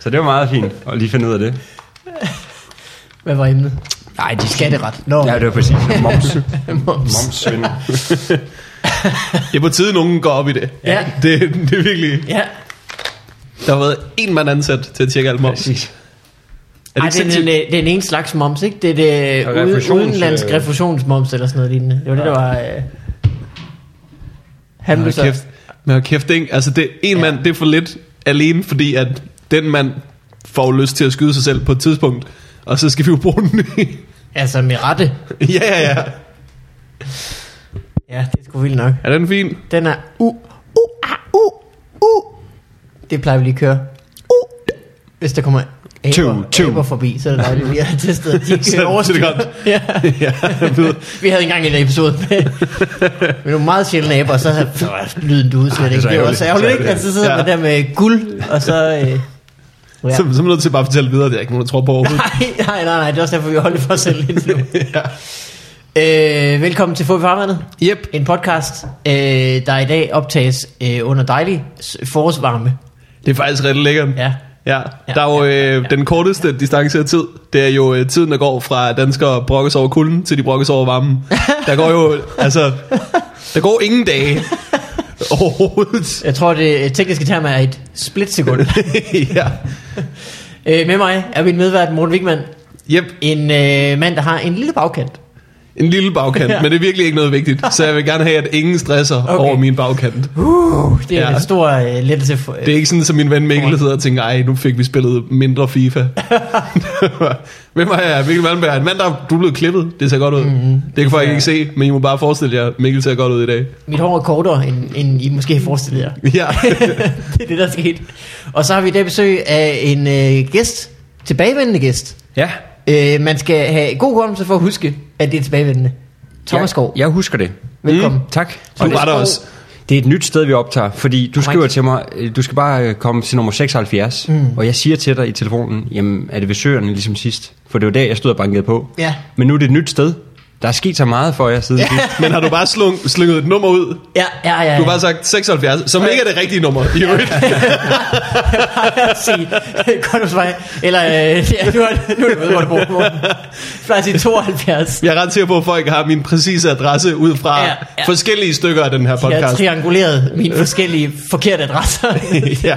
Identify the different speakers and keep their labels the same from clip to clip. Speaker 1: Så det var meget fint at lige finde ud af det.
Speaker 2: Hvad var emnet?
Speaker 1: Nej, de
Speaker 2: Skatteret. Nå,
Speaker 1: Ja, det var præcis. Moms.
Speaker 2: moms.
Speaker 1: Momsvindel.
Speaker 3: Det er på tide, nogen går op i det.
Speaker 2: Ja.
Speaker 3: Det, det er virkelig...
Speaker 2: Ja.
Speaker 3: Der har været en mand ansat til at tjekke alt moms. Er
Speaker 1: Præcis.
Speaker 3: det
Speaker 2: Ej,
Speaker 3: ikke
Speaker 2: det, er den,
Speaker 3: sindssygt?
Speaker 2: øh, det er den ene slags moms, ikke? Det er det øh,
Speaker 1: Ja,
Speaker 2: ude-
Speaker 1: refusions-
Speaker 2: udenlandsk
Speaker 1: øh.
Speaker 2: refusionsmoms eller sådan noget lignende. Det var det, der var... Øh... Han blev
Speaker 3: Men
Speaker 2: så...
Speaker 3: hold kæft, men hold kæft ikke? Altså, det, en
Speaker 2: Ja.
Speaker 3: ja. mand, det er for lidt alene, fordi at den mand får lyst til at skyde sig selv på et tidspunkt, og så skal vi jo bruge den.
Speaker 2: Altså med rette.
Speaker 3: ja, ja, ja.
Speaker 2: Ja, det er sgu vildt nok.
Speaker 3: Er den fin?
Speaker 2: Den er u, u, a, u, u. Det plejer vi lige at køre. U. Hvis der kommer aber,
Speaker 1: Two, two.
Speaker 2: aber forbi, så er det dejligt, vi har testet, at de ikke
Speaker 3: Så- så er
Speaker 2: kører
Speaker 3: det
Speaker 2: overstyr.
Speaker 3: godt.
Speaker 2: ja.
Speaker 3: ja, jeg ved.
Speaker 2: Vi havde engang en episode med, med nogle meget sjældne aber, og så havde så var lyden du udslet, ikke?
Speaker 1: så
Speaker 2: Det var også
Speaker 1: ærgerligt.
Speaker 2: ærgerligt,
Speaker 1: Så
Speaker 2: ikke? Altså, så
Speaker 3: ærgerligt.
Speaker 2: sidder man
Speaker 3: Ja.
Speaker 2: der med guld, og så... Øh, ja.
Speaker 3: Så, så er man nødt til bare at fortælle videre, det er ikke nogen, der tror på overhovedet.
Speaker 2: Nej, nej, nej, nej, det er også derfor, vi holder det for os selv lidt nu.
Speaker 3: ja.
Speaker 2: Øh, velkommen til Få i Farvandet.
Speaker 3: Yep.
Speaker 2: En podcast, øh, der i dag optages øh, under dejlig s- forårsvarme.
Speaker 3: Det er faktisk ret lækkert.
Speaker 2: Ja.
Speaker 3: Ja,
Speaker 2: Ja,
Speaker 3: der er jo
Speaker 2: ja, ja,
Speaker 3: øh,
Speaker 2: ja.
Speaker 3: den korteste distance af tid. Det er jo øh, tiden, der går fra at danskere brokkes over kulden, til de brokkes over varmen. Der går jo, altså, der går ingen dage overhovedet.
Speaker 2: Jeg tror, det øh, tekniske term er et splitsekund.
Speaker 3: ja.
Speaker 2: øh, med mig er min medvært Morten Wigman.
Speaker 3: Yep,
Speaker 2: En øh, mand, der har en lille bagkant.
Speaker 3: en lille bagkant,
Speaker 2: Ja.
Speaker 3: ja. men det er virkelig ikke noget vigtigt. Så jeg vil gerne have, at ingen stresser okay. over min bagkant.
Speaker 2: Uh, det er ja.
Speaker 3: Ja.
Speaker 2: en stor øh, lettelse. For, øh,
Speaker 3: Det er ikke sådan, som min ven Mikkel sidder og tænker, ej, nu fik vi spillet mindre FIFA. Hvem er jeg? Mikkel Malmberg. En mand, der du er blevet klippet. Det ser godt ud. Mm-hmm. Det kan folk ikke se, men I må bare forestille jer, Mikkel ser godt ud i dag.
Speaker 2: Mit hår er kortere, end, end I måske har forestillet jer.
Speaker 3: Ja,
Speaker 2: det er det, der er sket. Og så har vi i dag besøg af en øh, gæst. Tilbagevendende gæst.
Speaker 1: Ja.
Speaker 2: Øh, man skal have god hukommelse for at huske, at det er tilbagevendende. Thomas Skov,
Speaker 1: Jeg, jeg husker det.
Speaker 2: velkommen. Mm.
Speaker 1: Tak.
Speaker 3: du
Speaker 1: Og det-
Speaker 3: var der
Speaker 2: Skov.
Speaker 3: også.
Speaker 1: Det er et nyt sted, vi optager, fordi du skriver
Speaker 2: Korrekt.
Speaker 1: til mig, øh, du skal bare øh, komme til nummer 76, mm. og jeg siger til dig i telefonen, jamen er det ved søerne ligesom sidst? For det var der, jeg stod og bankede på.
Speaker 2: Ja.
Speaker 1: Men nu er det et nyt sted. Der er sket så meget for jer siden sidst.
Speaker 3: Men har du bare slung, slynget et nummer ud?
Speaker 2: Ja, ja, ja. ja.
Speaker 3: Du har bare sagt 76, som ikke er det rigtige nummer. I øvrigt.
Speaker 2: at sige Kondomsvej, eller øh, ja, nu er, nu er det ved, hvor du bor, Morten. Plejer at sige 72.
Speaker 3: Jeg er ret sikker på, at folk har min præcise adresse ud fra
Speaker 2: Ja,
Speaker 3: ja,
Speaker 2: ja.
Speaker 3: ja. forskellige stykker af den her
Speaker 2: Jeg har
Speaker 3: podcast.
Speaker 2: trianguleret mine forskellige forkerte adresser.
Speaker 3: Ja.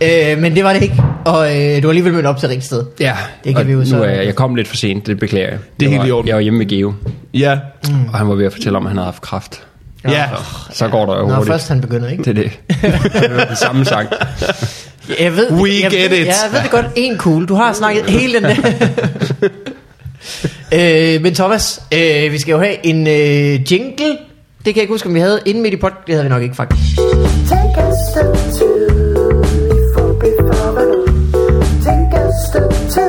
Speaker 2: ja. øh, men det var det ikke, og øh, du har alligevel mødt op til rigtigt sted.
Speaker 1: Ja,
Speaker 2: Det kan
Speaker 1: og
Speaker 2: vi jo
Speaker 1: nu
Speaker 2: så-
Speaker 1: er jeg, jeg kom lidt for sent, det beklager jeg.
Speaker 3: Det
Speaker 1: Jeg
Speaker 3: er helt
Speaker 1: var-
Speaker 3: i orden.
Speaker 1: Jeg var hjemme ved Geo,
Speaker 3: Ja,
Speaker 1: mm. og han var ved at fortælle om, at han havde haft kræft.
Speaker 3: ja.
Speaker 1: Så går der jo
Speaker 2: Nå,
Speaker 1: hurtigt.
Speaker 2: først han begynder, ikke?
Speaker 1: Det er det. det er den samme sang.
Speaker 2: Jeg ved,
Speaker 3: We
Speaker 2: jeg
Speaker 3: get
Speaker 2: ved,
Speaker 3: it.
Speaker 2: Ja, jeg ved det godt. En kugle. Du har snakket hele den der. øh, men Thomas, øh, vi skal jo have en øh, jingle. Det kan jeg ikke huske, om vi havde inden midt i pot. Det havde vi nok ikke, faktisk.
Speaker 4: Take a step two, for before Take a step two.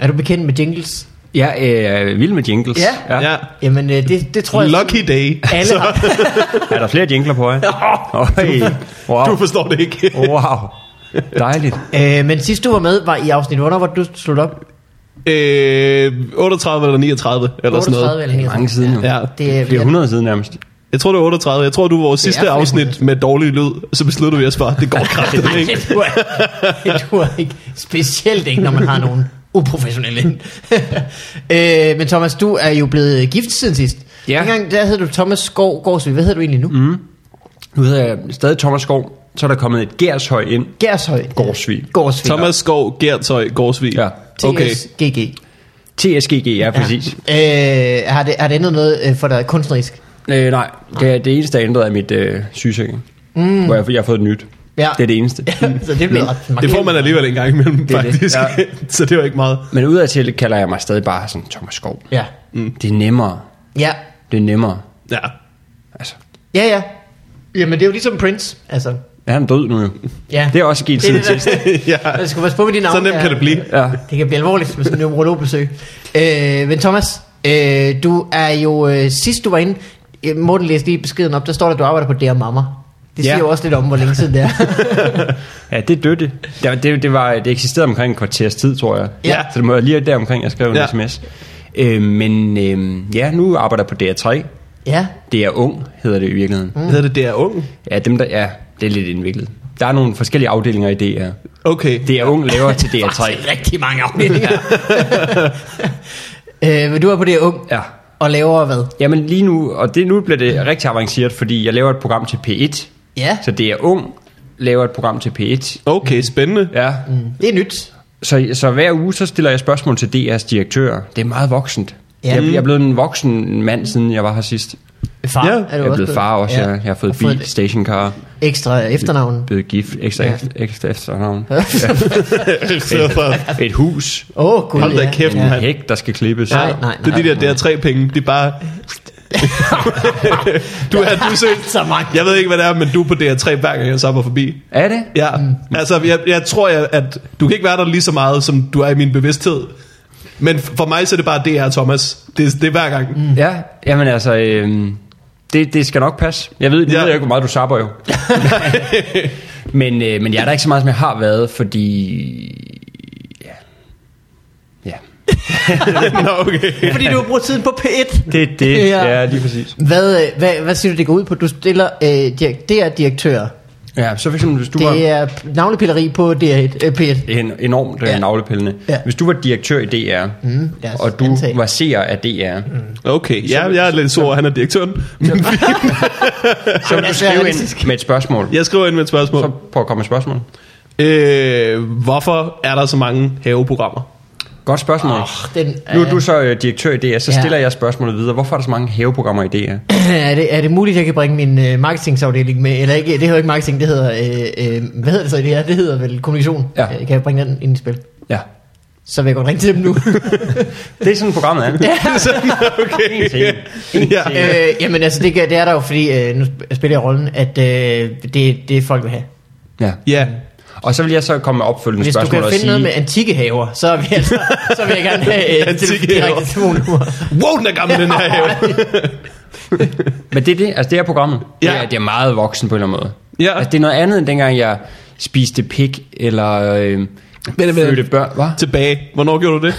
Speaker 2: Er du bekendt med jingles?
Speaker 1: Jeg er øh, vild med jingles.
Speaker 2: Ja.
Speaker 3: ja.
Speaker 2: Jamen, øh, det, det tror jeg...
Speaker 3: Lucky Altså. day.
Speaker 2: Alle
Speaker 3: Så,
Speaker 2: har...
Speaker 1: Er der flere jingler på jer? Hey. Wow.
Speaker 3: du forstår det ikke.
Speaker 1: wow. Dejligt.
Speaker 2: øh, men sidst du var med, var i afsnit, hvornår var det, du sluttede op?
Speaker 3: Øh, 38 eller 39, eller
Speaker 2: 38
Speaker 3: sådan noget.
Speaker 2: eller
Speaker 1: Mange
Speaker 2: 39?
Speaker 1: siden nu.
Speaker 3: Ja.
Speaker 2: Det er,
Speaker 1: Flere hundrede siden nærmest.
Speaker 3: Jeg tror, det var 38. Jeg tror, du var vores
Speaker 2: Det er
Speaker 3: sidste
Speaker 2: flere
Speaker 3: afsnit
Speaker 2: hundrede.
Speaker 3: med dårlig lyd, så besluttede vi os bare, det går kraftigt, ikke?
Speaker 2: Det duer, det duer ikke. Specielt ikke, når man har nogen uprofessionelle. øh, men Thomas, du er jo blevet gift siden sidst.
Speaker 1: Ja.
Speaker 2: Dengang der hed du Thomas Skov Gårdsvig. Hvad hedder du egentlig nu? Mm.
Speaker 1: Nu hedder jeg stadig Thomas Skov. Så er der kommet et Gershøj ind.
Speaker 2: Gershøj.
Speaker 1: Gårdsvig.
Speaker 2: Gårdsvig.
Speaker 3: Thomas Skov, Gertøj, Gårdsvig.
Speaker 1: Ja.
Speaker 3: Okay.
Speaker 2: TSGG.
Speaker 1: TSGG, ja, præcis.
Speaker 2: Ja. Øh, har, det, har det ændret noget øh, for dig kunstnerisk?
Speaker 1: Øh, nej, det, er det eneste, der ændrede, er mit øh, sygesikring. Mm. Hvor jeg, jeg har fået et nyt.
Speaker 2: Ja.
Speaker 1: Det er det eneste.
Speaker 2: så det bliver ret
Speaker 3: Det får man alligevel en gang imellem,
Speaker 1: Det er det.
Speaker 3: faktisk.
Speaker 1: Ja.
Speaker 3: så det var ikke meget.
Speaker 1: Men udadtil kalder jeg mig stadig bare sådan Thomas Skov.
Speaker 2: Ja.
Speaker 1: Mm. Det er nemmere.
Speaker 2: Ja.
Speaker 1: Det er nemmere.
Speaker 3: Ja.
Speaker 1: Altså,
Speaker 2: Ja, ja. Jamen, det er jo ligesom Prince, altså.
Speaker 1: han er død nu jo.
Speaker 2: Ja.
Speaker 1: Det er også sket
Speaker 2: Det er
Speaker 1: siden
Speaker 2: det, der-
Speaker 1: sidst.
Speaker 3: ja.
Speaker 2: Jeg skal passe på med dine navne.
Speaker 3: Så nemt
Speaker 2: der.
Speaker 3: kan det blive.
Speaker 1: Ja.
Speaker 2: Det kan blive alvorligt med sådan en numerologbesøg. Øh, men Thomas, øh, du er jo øh, sidst du var inde, øh, Morten læste lige beskeden op, der står der, at du arbejder på Dear Mama. Det siger
Speaker 1: Ja.
Speaker 2: jo også lidt om, hvor længe siden det er.
Speaker 1: Ja, det døde. Det, det, det, var, det eksisterede omkring en kvarters tid, tror jeg.
Speaker 2: Ja.
Speaker 1: Så det må jeg lige der omkring, jeg skrev en
Speaker 3: Ja.
Speaker 1: ja. sms. Øh, men øh, ja, nu arbejder jeg på DR3.
Speaker 2: ja,
Speaker 1: DR Ung hedder det i
Speaker 3: Mm.
Speaker 1: virkeligheden.
Speaker 3: Hedder det DR Ung?
Speaker 1: Ja, dem der, ja, det er lidt indviklet. Der er nogle forskellige afdelinger i DR.
Speaker 3: Okay.
Speaker 1: Det er ung laver til DR3.
Speaker 2: Faktisk rigtig mange afdelinger. øh, men du er på det ung
Speaker 1: Ja.
Speaker 2: og laver hvad?
Speaker 1: Jamen lige nu, og det, nu bliver det rigtig avanceret, fordi jeg laver et program til P1.
Speaker 2: Ja,
Speaker 1: Så det er ung, laver et program til P1.
Speaker 3: Okay, spændende.
Speaker 1: Ja.
Speaker 2: det er nyt.
Speaker 1: Så, så hver uge, så stiller jeg spørgsmål til DR's direktør. Det er meget voksent.
Speaker 2: Ja.
Speaker 1: Ja. Jeg, jeg er blevet en voksen mand, siden jeg var her sidst.
Speaker 2: Far
Speaker 3: Ja,
Speaker 2: er du
Speaker 1: Jeg er blevet far også. Ja. Jeg, jeg har fået bil,
Speaker 2: et
Speaker 1: stationcar,
Speaker 2: Ekstra efternavn.
Speaker 1: blevet gift, ekstra,
Speaker 2: Ja.
Speaker 1: ja. ekstra efternavn.
Speaker 3: Ja.
Speaker 1: Et hus,
Speaker 2: Åh, oh, gud.
Speaker 3: Hold da
Speaker 2: ja.
Speaker 3: kæft,
Speaker 1: en
Speaker 3: mand.
Speaker 1: hæk, der skal klippes.
Speaker 2: Nej, nej,
Speaker 3: det er
Speaker 2: nej,
Speaker 3: de der
Speaker 2: nej.
Speaker 3: DR3-penge. Det er bare... du er, du er seriøst-
Speaker 2: Så mange.
Speaker 3: Jeg ved ikke, hvad det er, men du er på DR3 hver gang, jeg zapper forbi.
Speaker 1: Er det?
Speaker 3: Ja, mm. altså jeg, jeg tror, jeg, at du kan ikke være der lige så meget, som du er i min bevidsthed. Men for mig så er det bare DR Thomas. Det, det er hver gang. Mm.
Speaker 1: Ja, jamen altså, øhm, det, det skal nok passe. Jeg ved, nu
Speaker 3: Ja.
Speaker 1: ved jeg ikke, hvor meget du sapper jo. men, øh, men jeg er der ikke så meget, som jeg har været, fordi... Ja. ja.
Speaker 3: Nå, okay.
Speaker 2: Fordi du har brugt tiden på P1.
Speaker 1: Det er det.
Speaker 2: Ja.
Speaker 1: Ja. ja, lige præcis.
Speaker 2: Hvad, øh, hvad, hvad siger du, det går ud på? Du stiller øh, direk, DR-direktør.
Speaker 1: Ja, så for eksempel, hvis du
Speaker 2: Det
Speaker 1: var
Speaker 2: er navlepilleri på DR1, øh, P1.
Speaker 1: en, enormt
Speaker 2: Ja.
Speaker 1: ja. navlepillende.
Speaker 2: Ja,
Speaker 1: Ja. Hvis du var direktør i DR,
Speaker 2: Mm, lad os
Speaker 1: og du
Speaker 2: antage.
Speaker 1: var seer af DR, mm.
Speaker 3: Okay, ja, jeg er lidt sur, han er direktøren.
Speaker 1: så
Speaker 2: Jamen,
Speaker 1: ville du
Speaker 2: altså,
Speaker 1: skrive
Speaker 2: realistisk.
Speaker 1: ind med et spørgsmål. Ja.
Speaker 3: Jeg skriver ind med et spørgsmål.
Speaker 1: Så prøv at komme med et spørgsmål.
Speaker 3: Øh, hvorfor er der så mange haveprogrammer?
Speaker 1: Godt spørgsmål.
Speaker 3: Ah.
Speaker 1: Oh,
Speaker 2: Den,
Speaker 1: nu
Speaker 2: øh,
Speaker 1: er du så øh, direktør i DR, så
Speaker 2: Ja.
Speaker 1: stiller jeg spørgsmålet videre. Hvorfor er der så mange haveprogrammer i DR?
Speaker 2: er, det, er det muligt, at jeg kan bringe min øh, marketingsafdeling med? Eller ikke, det hedder ikke marketing, det hedder... Øh, øh, hvad hedder det så i det her? Det hedder vel kommunikation.
Speaker 1: Ja.
Speaker 2: Øh, Kan jeg bringe den ind i spil?
Speaker 1: Ja.
Speaker 2: Så vil jeg godt ringe til dem nu.
Speaker 1: Det er sådan, programmet er. Ja.
Speaker 3: Okay.
Speaker 1: En til en. En
Speaker 3: Ja.
Speaker 1: til en.
Speaker 2: øh, jamen altså, det, kan- det er der jo, fordi... Øh, nu sp- spiller jeg rollen, at øh, det, det folk vil have.
Speaker 1: ja.
Speaker 3: Ja,
Speaker 1: Og så vil jeg så komme med opfølgende
Speaker 2: Hvis du kan
Speaker 1: spørgsmål og
Speaker 2: finde
Speaker 1: sige...
Speaker 2: noget med antikke haver, så vil jeg, så, så vil jeg gerne have øh,
Speaker 3: Antikke
Speaker 2: antikke
Speaker 3: haver.
Speaker 2: direkte telefonnummer.
Speaker 3: wow, den er gammel, den her have.
Speaker 1: Men det er det, altså det er programmet.
Speaker 3: Ja.
Speaker 1: Ja. Det, er, det er meget voksen på en eller anden måde.
Speaker 3: Ja.
Speaker 1: Altså det er noget andet, end dengang jeg spiste pik, eller øh,
Speaker 3: men-
Speaker 1: fødte børn, hva?
Speaker 3: Tilbage. Hvornår gjorde du det?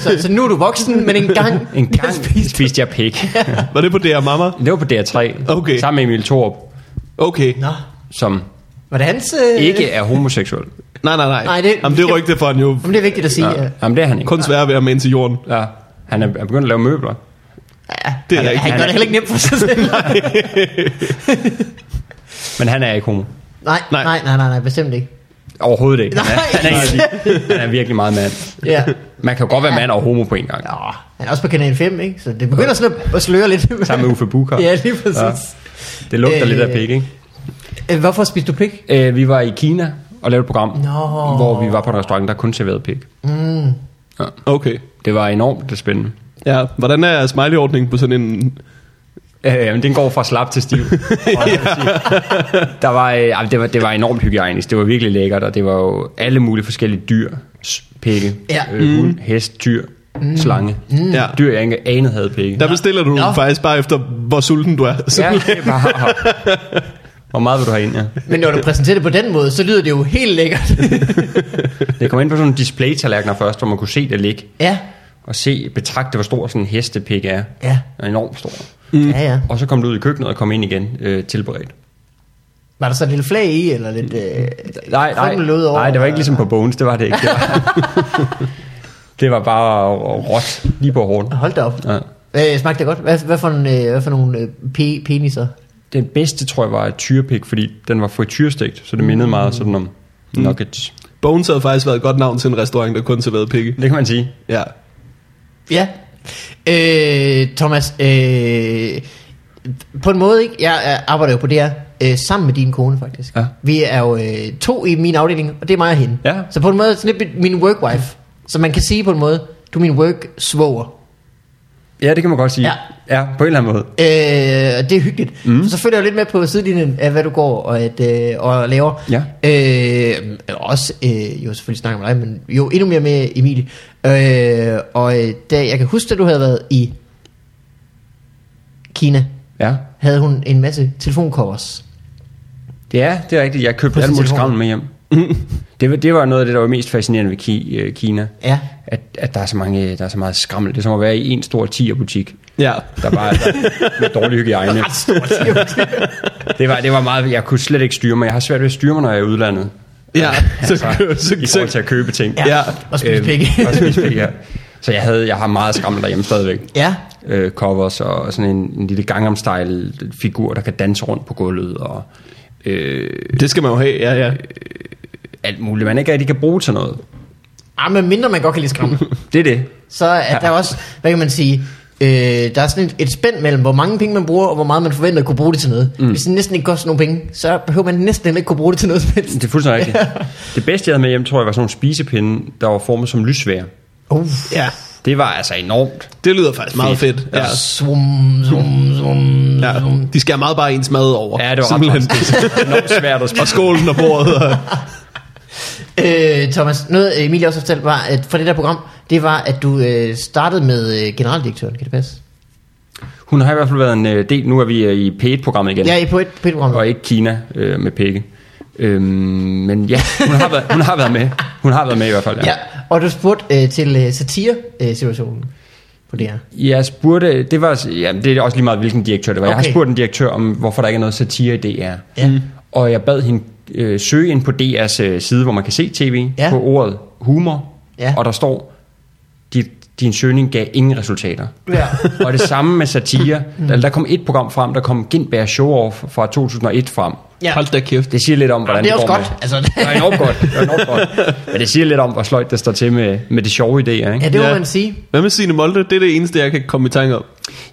Speaker 2: Så, så nu er du voksen, men engang...
Speaker 1: En gang spiste, jeg pik.
Speaker 3: Var det på DR Mama?
Speaker 1: Det var på DR3,
Speaker 3: Okay.
Speaker 1: sammen med Emil Thorup,
Speaker 3: Okay.
Speaker 2: Nå,
Speaker 1: som
Speaker 2: var det hans... Øh,
Speaker 1: ikke er homoseksuel.
Speaker 3: Nej, nej, nej.
Speaker 2: Nej, det-
Speaker 3: Jamen, det rygte for han jo
Speaker 2: Jamen, det er vigtigt at sige. øh, Ja.
Speaker 1: Jamen det er han ikke.
Speaker 3: kun svært ved at minde til jorden.
Speaker 1: Ja. Han er er begyndt at lave møbler.
Speaker 3: Det er
Speaker 2: Han,
Speaker 3: rigtigt.
Speaker 2: han gør det heller ikke nemt for sig selv.
Speaker 1: Men han er ikke homo.
Speaker 2: nej,
Speaker 3: Nej.
Speaker 2: nej, nej, nej, nej, bestemt ikke.
Speaker 1: Overhovedet ikke. Han er,
Speaker 2: Nej.
Speaker 1: han, er egentlig, han er virkelig meget mand.
Speaker 2: Ja.
Speaker 1: Man kan jo godt være mand og homo på en gang.
Speaker 2: Nå, han er også på Kanal 5, ikke? Så det begynder sådan at, at sløre lidt.
Speaker 1: Sammen med Uffe Bucher.
Speaker 2: Ja, lige præcis.
Speaker 1: Det lugter
Speaker 2: Øh.
Speaker 1: øh, lidt af pik, ikke?
Speaker 2: Ja. Hvorfor spiste du pik?
Speaker 1: Øh, vi var i Kina og lavede et program,
Speaker 2: Nå.
Speaker 1: hvor vi var på en restaurant, der kun serverede pik.
Speaker 3: Okay.
Speaker 1: Det var enormt spændende.
Speaker 3: Ja, hvordan er smiley-ordningen på sådan en...
Speaker 1: Øh, men den går fra slap til stiv. der var, øh, altså, det, var, det var enormt hygiejnisk. Det var virkelig lækkert, og det var jo alle mulige forskellige dyr. S- Pikke,
Speaker 2: Ja. Mm.
Speaker 1: øh, hund, hest, dyr, slange.
Speaker 3: Ja.
Speaker 1: Dyr, jeg ikke anede havde pikke.
Speaker 3: Der bestiller du
Speaker 2: Nå.
Speaker 3: faktisk bare efter, hvor sulten du er. Så,
Speaker 1: Ja, det var, hvor meget vil du have ind, ja?
Speaker 2: Men når du præsenterer det på den måde, så lyder det jo helt lækkert.
Speaker 1: Det kom ind på sådan en display-tallerkener først, hvor man kunne se det ligge.
Speaker 2: ja,
Speaker 1: Og se, betragte, hvor stor sådan en hestepik er.
Speaker 2: ja,
Speaker 1: Den er enormt stor.
Speaker 2: mm. ja, ja.
Speaker 1: Og så kom du ud i køkkenet og kom ind igen, øh, tilberedt.
Speaker 2: Var der så et lille flag i, eller lidt... Øh,
Speaker 1: Nej, nej,
Speaker 2: krummelød over,
Speaker 1: nej, det var ikke
Speaker 2: eller-
Speaker 1: ligesom på Bones, det var det ikke. Det var, det var bare råt, lige på hårdt.
Speaker 2: Hold da op.
Speaker 1: Ja.
Speaker 2: Øh, smagte det godt? Hvad, hvad, for, en, øh, hvad for nogle øh, pe- peniser?
Speaker 1: Den bedste, tror jeg, var et tyrepik, fordi den var frityrestegt, så det mindede meget sådan om nuggets.
Speaker 3: Bones havde faktisk været et godt navn til en restaurant, der kun serverede pikke.
Speaker 1: Det kan man sige.
Speaker 3: Ja.
Speaker 2: Ja. Øh, Thomas, øh, på en måde, ikke? jeg øh, arbejder jo på det her, øh, sammen med din kone faktisk.
Speaker 1: Ja.
Speaker 2: Vi er jo øh, to i min afdeling, og det er mig og hende.
Speaker 1: Ja.
Speaker 2: Så på en måde, sådan lidt min workwife. Så man kan sige på en måde, du er min work-svoger.
Speaker 1: Ja, det kan man godt sige.
Speaker 2: Ja.
Speaker 1: ja på en eller anden måde.
Speaker 2: Øh, og det er hyggeligt. Mm. Så følger jeg jo lidt med på sidelinjen af, hvad du går og, at, øh, og laver.
Speaker 1: Ja.
Speaker 2: Øh, også, øh, jo selvfølgelig snakker med dig, men jo endnu mere med Emilie. Øh, og øh, da jeg kan huske, at du havde været i Kina,
Speaker 1: Ja.
Speaker 2: havde hun en masse telefoncovers.
Speaker 1: Ja, det er rigtigt. Jeg købte
Speaker 2: På sin
Speaker 1: alt muligt
Speaker 2: telefon.
Speaker 1: skrammel med hjem. det, var- det var noget af det, der var mest fascinerende ved Ki, øh, Kina.
Speaker 2: Ja.
Speaker 1: At, at der, er så mange, der er så meget skrammel. Det er som at være i en stor tierbutik.
Speaker 3: Ja.
Speaker 1: Der var altså med dårlig hygiejne.
Speaker 2: Ret stort.
Speaker 1: Det var, det var meget, jeg kunne slet ikke styre mig. Jeg har svært ved at styre mig, når jeg er i udlandet.
Speaker 3: Ja, så,
Speaker 1: altså,
Speaker 3: så,
Speaker 1: i forhold til at købe ting.
Speaker 2: Ja.
Speaker 3: Ja.
Speaker 2: Og spise pikke.
Speaker 1: Øh, og spise pikke, ja. Så jeg, havde, jeg har meget skrammel derhjemme stadigvæk.
Speaker 2: Ja.
Speaker 1: Øh, covers og sådan en, en lille Gangnam Style figur, der kan danse rundt på gulvet og øh,
Speaker 3: det skal man jo have, ja, ja.
Speaker 1: alt muligt. Man ikke rigtig kan bruge til noget.
Speaker 2: Ah, men mindre man godt kan lide skræmme.
Speaker 1: Det er det.
Speaker 2: Så er der også, hvad kan man sige, øh, der er sådan et, et spænd mellem, hvor mange penge man bruger, og hvor meget man forventer at kunne bruge det til noget. Mm. Hvis det næsten ikke koster nogen penge, så behøver man næsten heller ikke kunne bruge det til noget som helst.
Speaker 1: Det er fuldstændig rigtigt. Det bedste, jeg havde med hjem, tror jeg, var sådan nogle spisepinde, der var formet som lysvær.
Speaker 2: Uh,
Speaker 3: Ja,
Speaker 1: Det var altså enormt.
Speaker 3: det lyder faktisk meget
Speaker 1: Fedt.
Speaker 3: fedt. Ja.
Speaker 2: svum, svum, svum.
Speaker 3: Ja. De skærer meget bare ens mad over.
Speaker 1: Ja, det var
Speaker 3: Simpelthen.
Speaker 1: ret faktisk enormt svært at
Speaker 3: Og
Speaker 1: spise.
Speaker 3: skålen og bordet. Og,
Speaker 2: Øh, Thomas, noget Emilie også fortalte var, at fra det der program, det var, at du øh, startede med øh, generaldirektøren, kan det passe?
Speaker 1: Hun har i hvert fald været en øh, del. Nu er vi øh, i P1-programmet igen.
Speaker 2: Ja, i på et, på et program.
Speaker 1: og ikke Kina øh, med pikke. Øhm, men ja, hun har, været, hun har været med. Hun har været med i hvert fald, ja.
Speaker 2: Ja, og du spurgte øh, til øh, satire-situationen på det her.
Speaker 1: Jeg spurgte, det var, ja, det er også lige meget, hvilken direktør det var. Okay. Jeg har
Speaker 2: Okay.
Speaker 1: spurgt en direktør om, hvorfor der ikke er noget satire i DR.
Speaker 2: Ja. Mm.
Speaker 1: Og jeg bad hende øh, søge ind på DR's øh, side, hvor man kan se tv,
Speaker 2: Ja.
Speaker 1: ja. på ordet humor.
Speaker 2: Ja.
Speaker 1: Og der står, dit, din søgning gav ingen resultater.
Speaker 2: Ja.
Speaker 1: og det samme med satire.
Speaker 2: Mm.
Speaker 1: Der, der kom et program frem, der kom Gintberg Show Off fra 2001 frem.
Speaker 2: Ja.
Speaker 3: Hold da kæft.
Speaker 1: Det siger lidt om, hvordan
Speaker 2: det er
Speaker 1: det
Speaker 2: også
Speaker 1: går
Speaker 2: godt.
Speaker 1: Med.
Speaker 2: Altså,
Speaker 1: Det er enormt godt. Det er enormt godt. Men det siger lidt om, hvor sløjt det står til med, med de sjove idéer. Ikke?
Speaker 2: ja, det må man sige.
Speaker 3: Hvad med Signe Molde? Det er det eneste, jeg kan komme i tanke om.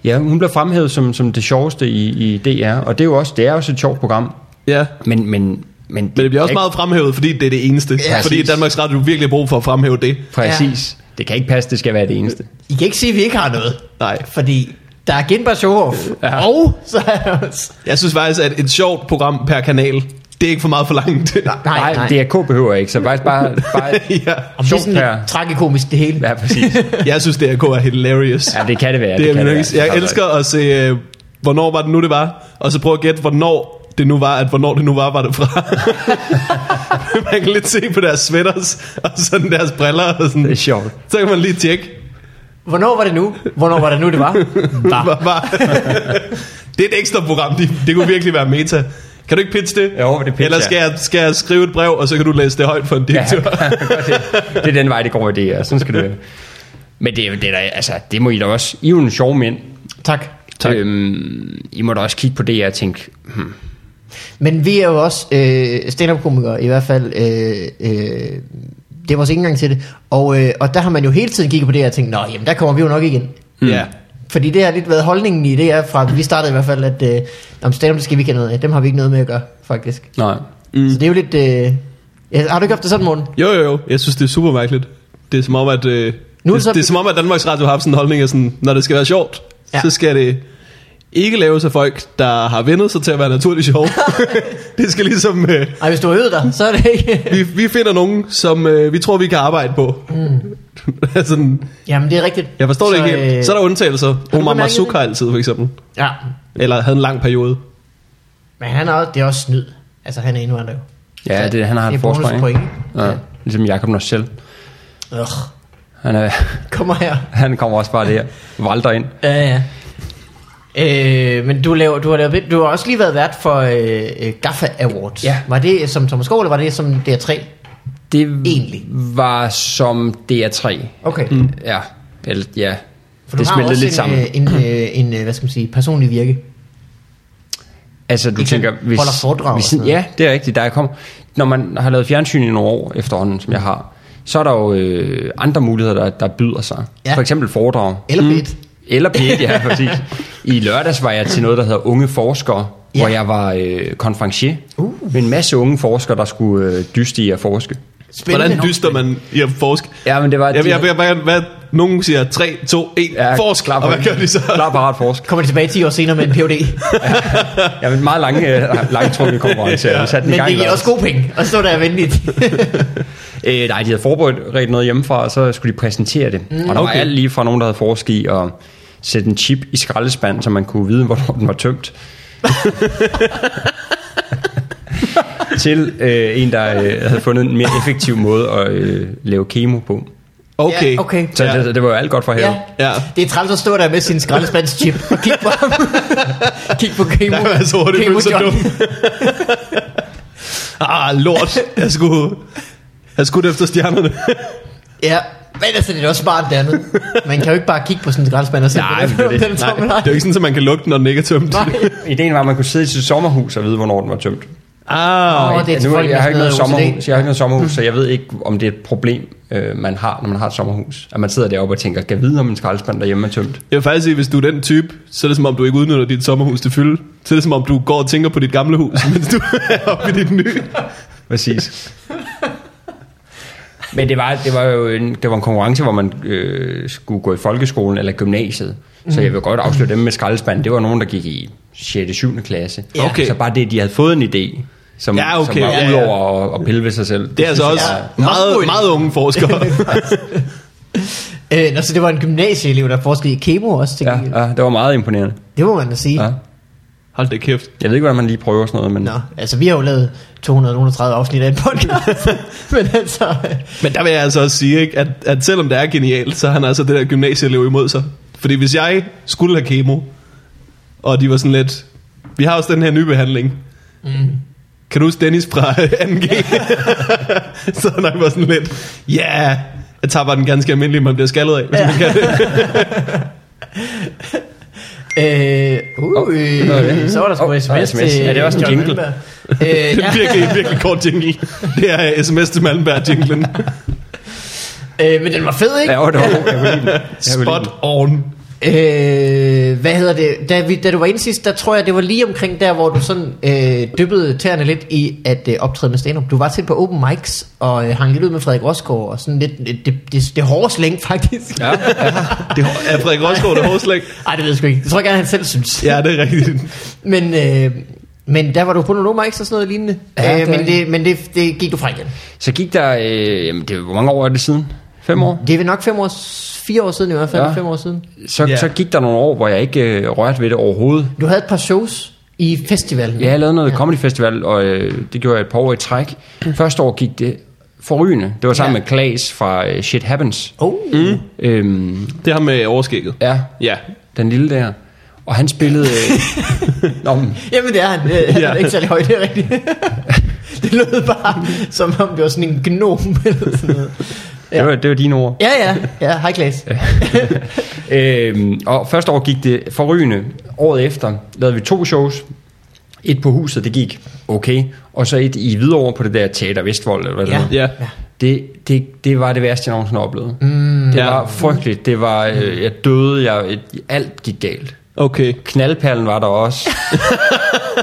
Speaker 1: Ja, hun blev fremhævet som, som det sjoveste i, i DR, og det er jo også, det er jo også et sjovt program.
Speaker 3: Ja.
Speaker 1: Men, men, men,
Speaker 3: Men det bliver også
Speaker 1: kan
Speaker 3: meget fremhævet, fordi det er det eneste. Ja,
Speaker 2: Ja,
Speaker 3: fordi
Speaker 1: præcis.
Speaker 3: Danmarks Radio virkelig har brug for at fremhæve det.
Speaker 1: ikke, Præcis. Ja. Det kan ikke passe, det skal være det eneste.
Speaker 2: I kan ikke sige, at vi ikke har noget.
Speaker 3: Nej.
Speaker 2: Fordi der er Genbar Sjovhoff, ja. og så er der også...
Speaker 3: Jeg synes faktisk, at et sjovt program per kanal, det er ikke for meget forlangt. Nej.
Speaker 2: Nej, nej. Det er,
Speaker 1: DRK behøver ikke, så faktisk bare, bare
Speaker 3: ja.
Speaker 2: Om det er
Speaker 1: sjovt
Speaker 2: sådan
Speaker 1: her.
Speaker 2: lidt tragikomisk det hele.
Speaker 1: ja, præcis.
Speaker 3: Jeg synes, det er er hilarious.
Speaker 1: Ja, det kan det være.
Speaker 3: det er
Speaker 1: kan
Speaker 3: min
Speaker 1: det
Speaker 3: yndlings-
Speaker 1: være.
Speaker 3: Jeg elsker at se, øh, hvornår var det nu, det var. Og så prøve at gætte, hvornår det nu var, at hvornår det nu var, var det fra. man kan lidt se på deres sweaters, og sådan deres briller. Og sådan.
Speaker 1: Det er sjovt. Ah.
Speaker 3: Så kan man lige tjekke.
Speaker 2: Hvornår var det nu? Hvornår var det nu, det var?
Speaker 3: Var, var. det er et ekstra program. Det, det kunne virkelig være meta. Kan du ikke pitche det?
Speaker 1: Jo, det pitcher
Speaker 3: Eller skal jeg, skal jeg skrive et brev, og så kan du læse det højt for en
Speaker 1: Ja,
Speaker 3: direktør?
Speaker 1: gør det. det er den vej, det går i DR. Sådan skal det være. Men det, er jo- det, er da, altså, det må I da også. I er jo en sjov mænd.
Speaker 2: tak.
Speaker 1: Tak. Øhm, I må da også kigge på det, jeg tænkte, hmm,
Speaker 2: Men vi er jo også øh, stand-up-komikere, i hvert fald... Øh, øh, det var vores ikke engang til det. Og, øh, og der har man jo hele tiden kigget på det her og tænkt, nå, jamen der kommer vi jo nok igen.
Speaker 3: ja.
Speaker 2: Fordi det har lidt været holdningen i det er fra, vi startede i hvert fald, at øh, om stand-up, det skal vi ikke have noget af. Dem har vi ikke noget med at gøre, faktisk.
Speaker 1: nej.
Speaker 2: Mm. Så det er jo lidt... Øh, ja, har du ikke haft det sådan, morgen?
Speaker 3: Jo, jo, jo. Jeg synes, det er super mærkeligt. Det er som om, at, øh,
Speaker 2: Nu
Speaker 3: nu
Speaker 2: er
Speaker 3: det,
Speaker 2: det så-
Speaker 3: så... det er, som om, at Danmarks Radio har haft sådan en holdning af sådan, når det skal være sjovt,
Speaker 2: Ja.
Speaker 3: ja. så skal det ikke laves af folk, der har vendet sig til at være naturligt sjov. det skal ligesom... Øh,
Speaker 2: Ej, hvis du har øvet dig, så er det ikke...
Speaker 3: vi, vi finder nogen, som øh, vi tror, vi kan arbejde på. Mm. sådan,
Speaker 2: Jamen, det er rigtigt.
Speaker 3: jeg forstår så, det ikke helt.
Speaker 2: øh,
Speaker 3: Så er der undtagelser. Omar
Speaker 2: bemærket
Speaker 3: Masuk har altid, for eksempel.
Speaker 2: Ja,
Speaker 3: Eller havde en lang periode.
Speaker 2: men han er, også- det er også snyd. Altså, han er indvandrer jo.
Speaker 1: Ja, det, han har
Speaker 2: Det
Speaker 1: et
Speaker 2: er
Speaker 1: forsvar,
Speaker 2: bonuspoint,
Speaker 1: ikke? Ja. Ligesom Jacob Norsel.
Speaker 2: Ugh,
Speaker 1: Han, er,
Speaker 2: kommer her.
Speaker 1: han kommer også bare der, valter ind.
Speaker 2: Ja, ja. Øh, men du, laver, du, har lavet, du har også lige været vært for øh, øh, Gaffa Awards.
Speaker 1: Ja.
Speaker 2: Var det som Thomas Skål, eller var det som DR3?
Speaker 1: Det
Speaker 2: Egentlig.
Speaker 1: var som DR3.
Speaker 2: Okay. Mm.
Speaker 1: Ja, eller, ja.
Speaker 2: For
Speaker 1: det
Speaker 2: du har
Speaker 1: smeltede
Speaker 2: også
Speaker 1: lidt
Speaker 2: en,
Speaker 1: sammen.
Speaker 2: øh, en, øh, en, øh, hvad skal man sige, personlig virke.
Speaker 1: Altså, du
Speaker 2: Ikke
Speaker 1: tænker...
Speaker 2: sådan, holder foredrag og
Speaker 1: hvis,
Speaker 2: sådan noget.
Speaker 1: Ja, det er rigtigt. Der er kom, når man har lavet fjernsyn i nogle år efterhånden, som jeg har, så er der jo øh, andre muligheder, der, der byder sig.
Speaker 2: Ja.
Speaker 1: Ja. For eksempel foredrag. Mm.
Speaker 2: Eller bedt.
Speaker 1: Eller pæt, ja, præcis. I lørdags var jeg til noget, der hedder Unge Forskere,
Speaker 2: Ja.
Speaker 1: ja. hvor jeg var øh, konferencier uh. med en masse unge forskere, der skulle øh, dyste i at forske.
Speaker 2: Spændende.
Speaker 3: Hvordan dyster man i at forske?
Speaker 1: Ja, men det var...
Speaker 3: Jeg, jeg, jeg, jeg, hvad, nogen siger 3, 2, 1, ja, forsk,
Speaker 1: klar,
Speaker 3: og hvad gør de så?
Speaker 1: Klar, parat, forsk.
Speaker 2: Kommer de tilbage 10 år senere med en Ph.D.
Speaker 1: Ja, men meget lange, øh, langtrukne konkurrence. ja. Sat den i
Speaker 2: men
Speaker 1: gang
Speaker 2: det
Speaker 1: i
Speaker 2: giver også gode penge. Og så der er venligt.
Speaker 1: Øh, nej, de havde forberedt rigtig noget hjemmefra, og så skulle de præsentere det. Mm. Og der okay. var
Speaker 3: Okay.
Speaker 1: alt lige fra nogen, der havde forsket i at sætte en chip i skraldespanden, så man kunne vide, hvornår den var tømt. til øh, en, der øh, havde fundet en mere effektiv måde at øh, lave kemo på.
Speaker 3: Okay.
Speaker 2: Ja, okay.
Speaker 1: Så ja. det, det var jo alt godt for havet.
Speaker 2: ja.
Speaker 1: Ja.
Speaker 3: Ja.
Speaker 2: Det er træls at stå der med sin skraldespandschip og kigge på ham. kigge på Kemo.
Speaker 3: altså, Der var så hurtigt,
Speaker 2: Kemo
Speaker 3: følte sig
Speaker 2: John.
Speaker 3: dum. Ah, lort. Jeg skulle have skudt efter stjernerne.
Speaker 2: Ja, men altså, det er også smart det andet. Man kan jo ikke bare kigge på sådan en skraldespand og se,
Speaker 1: Nej,
Speaker 2: hvordan-
Speaker 1: det er det.
Speaker 2: hvordan
Speaker 1: Nej,
Speaker 2: tommel
Speaker 3: det er
Speaker 2: har.
Speaker 3: jo ikke sådan, at man kan lukke den, når den ikke er tømt.
Speaker 2: Nej.
Speaker 1: Ideen var, at man kunne sidde i sit sommerhus og vide, hvornår den var tømt.
Speaker 3: Ah,
Speaker 2: Åh, det er til
Speaker 1: nu,
Speaker 2: folk,
Speaker 1: jeg, har
Speaker 2: med
Speaker 1: ikke noget
Speaker 2: sådan noget OCD.
Speaker 1: sommerhus, jeg har ikke noget sommerhus, så jeg ved ikke, om det er et problem, øh, man har, når man har et sommerhus. At man sidder deroppe og tænker, kan vide, om en skraldespand derhjemme er tømt.
Speaker 3: jeg vil faktisk sige, hvis du er den type, så er det som om, du ikke udnytter dit sommerhus til fylde. Så er det som om, du går og tænker på dit gamle hus, mens du er oppe i dit nye.
Speaker 1: Præcis. Men det var, det var jo en, det var en konkurrence, hvor man øh, skulle gå i folkeskolen eller gymnasiet. Så
Speaker 3: Mm.
Speaker 1: jeg vil godt afsløre dem med skraldespand. Det var nogen, der gik i 6. og 7. klasse.
Speaker 3: Ja. Okay.
Speaker 1: Så bare det, at de havde fået en idé, som,
Speaker 3: Ja, okay,
Speaker 1: som var
Speaker 3: ja,
Speaker 1: ja,
Speaker 3: ja.
Speaker 1: udover at, at pille ved sig selv.
Speaker 3: Det er altså også meget, meget unge forskere.
Speaker 2: Øh, nå, så det var en gymnasieelev, der forskede i kemo også, til ja.
Speaker 1: Ja, ja, det var meget imponerende.
Speaker 2: Det må man da sige.
Speaker 1: Ja.
Speaker 2: Ja.
Speaker 3: Hold da kæft.
Speaker 1: Jeg ved ikke, hvordan man lige prøver sådan noget, men...
Speaker 2: Nå, altså vi har jo lavet 230 afsnit af en podcast, men altså...
Speaker 3: Men der vil jeg altså også sige, ikke, at, at selvom det er genialt, så har han altså det der gymnasieelev imod sig. Fordi hvis jeg skulle have kemo, og de var sådan lidt, vi har også den her nye behandling. Mm. Kan du huske Dennis fra 2G? så han nok var sådan lidt, ja, yeah, jeg tager bare den ganske almindelige, man bliver skaldet af, hvis ja. man kan det.
Speaker 2: Øh, uh,
Speaker 1: Åh, det var det.
Speaker 2: så var der sgu
Speaker 1: Åh,
Speaker 2: oh,
Speaker 1: der var
Speaker 2: sms,
Speaker 1: SMS.
Speaker 2: til
Speaker 1: Ja, det var sådan en
Speaker 2: John
Speaker 1: jingle.
Speaker 2: Lindberg. Øh,
Speaker 3: Det er
Speaker 2: ja.
Speaker 3: virkelig, virkelig kort jingle. Det er øh, sms til Malmberg jinglen.
Speaker 2: øh, men den var fed, ikke?
Speaker 1: Ja, jo, det var, jeg kunne lide den. Jeg kunne lide den.
Speaker 3: Spot on.
Speaker 2: Øh, hvad hedder det? Da, vi, da du var inde sidst, der tror jeg, det var lige omkring der, hvor du sådan øh, dyppede tæerne lidt i at øh, optræde med stand Du var til på open mics og øh, hang lidt ud med Frederik Rosgaard og sådan lidt, øh, det, det, det er hårde slæng faktisk.
Speaker 1: Ja, ja.
Speaker 3: Det er Frederik Rosgaard, der hårslæg.
Speaker 2: Ej, det ved jeg sgu ikke. Det tror jeg gerne, han selv synes.
Speaker 3: Ja, det er rigtigt.
Speaker 2: Men, øh, men der var du på nogle open mics og sådan noget lignende.
Speaker 1: Ja,
Speaker 2: Ja,
Speaker 1: det
Speaker 2: øh,
Speaker 1: er
Speaker 2: men det, men det, det gik du fra igen.
Speaker 1: Så gik der... Øh, jamen, det, hvor mange år er det siden? Fem år?
Speaker 2: Det er vel nok fem år, fire år siden i hvert fald. Ja.
Speaker 1: Ja.
Speaker 2: Fem år siden.
Speaker 1: Så,
Speaker 3: Ja.
Speaker 1: yeah. så gik der nogle år, hvor jeg ikke øh, rørte ved det overhovedet.
Speaker 2: Du havde et par shows i festivalen.
Speaker 1: Ja, jeg lavede noget comedy festival, og øh, det gjorde jeg et par år i træk. Første år gik det forrygende. Det var sammen
Speaker 2: Ja.
Speaker 1: med Klaas fra øh, Shit Happens.
Speaker 2: Oh. Mm.
Speaker 1: Øhm,
Speaker 3: Det har med overskægget.
Speaker 1: ja,
Speaker 3: Ja.
Speaker 1: den lille der. Og han spillede... Øh, Nå, men,
Speaker 2: Jamen det er han. Øh, Han
Speaker 3: Ja.
Speaker 2: er ikke særlig høj, det er rigtigt. det lød bare, som om det var sådan en gnom eller sådan noget.
Speaker 1: det, var, det var dine ord.
Speaker 2: Ja, ja. Ja, hej Klaas.
Speaker 1: Øhm, og første år gik det forrygende. Året efter lavede vi to shows. Et på huset, det gik okay. Og så et i Hvidovre på det der Teater Vestvold. Eller hvad det
Speaker 2: Ja.
Speaker 1: hedder.
Speaker 3: Ja.
Speaker 1: Det, det, det var det værste, jeg nogensinde oplevede. Mm, det
Speaker 3: Ja.
Speaker 1: var frygteligt. Det var, øh, jeg døde. Jeg, alt gik galt.
Speaker 3: Okay.
Speaker 1: Knaldperlen var der også.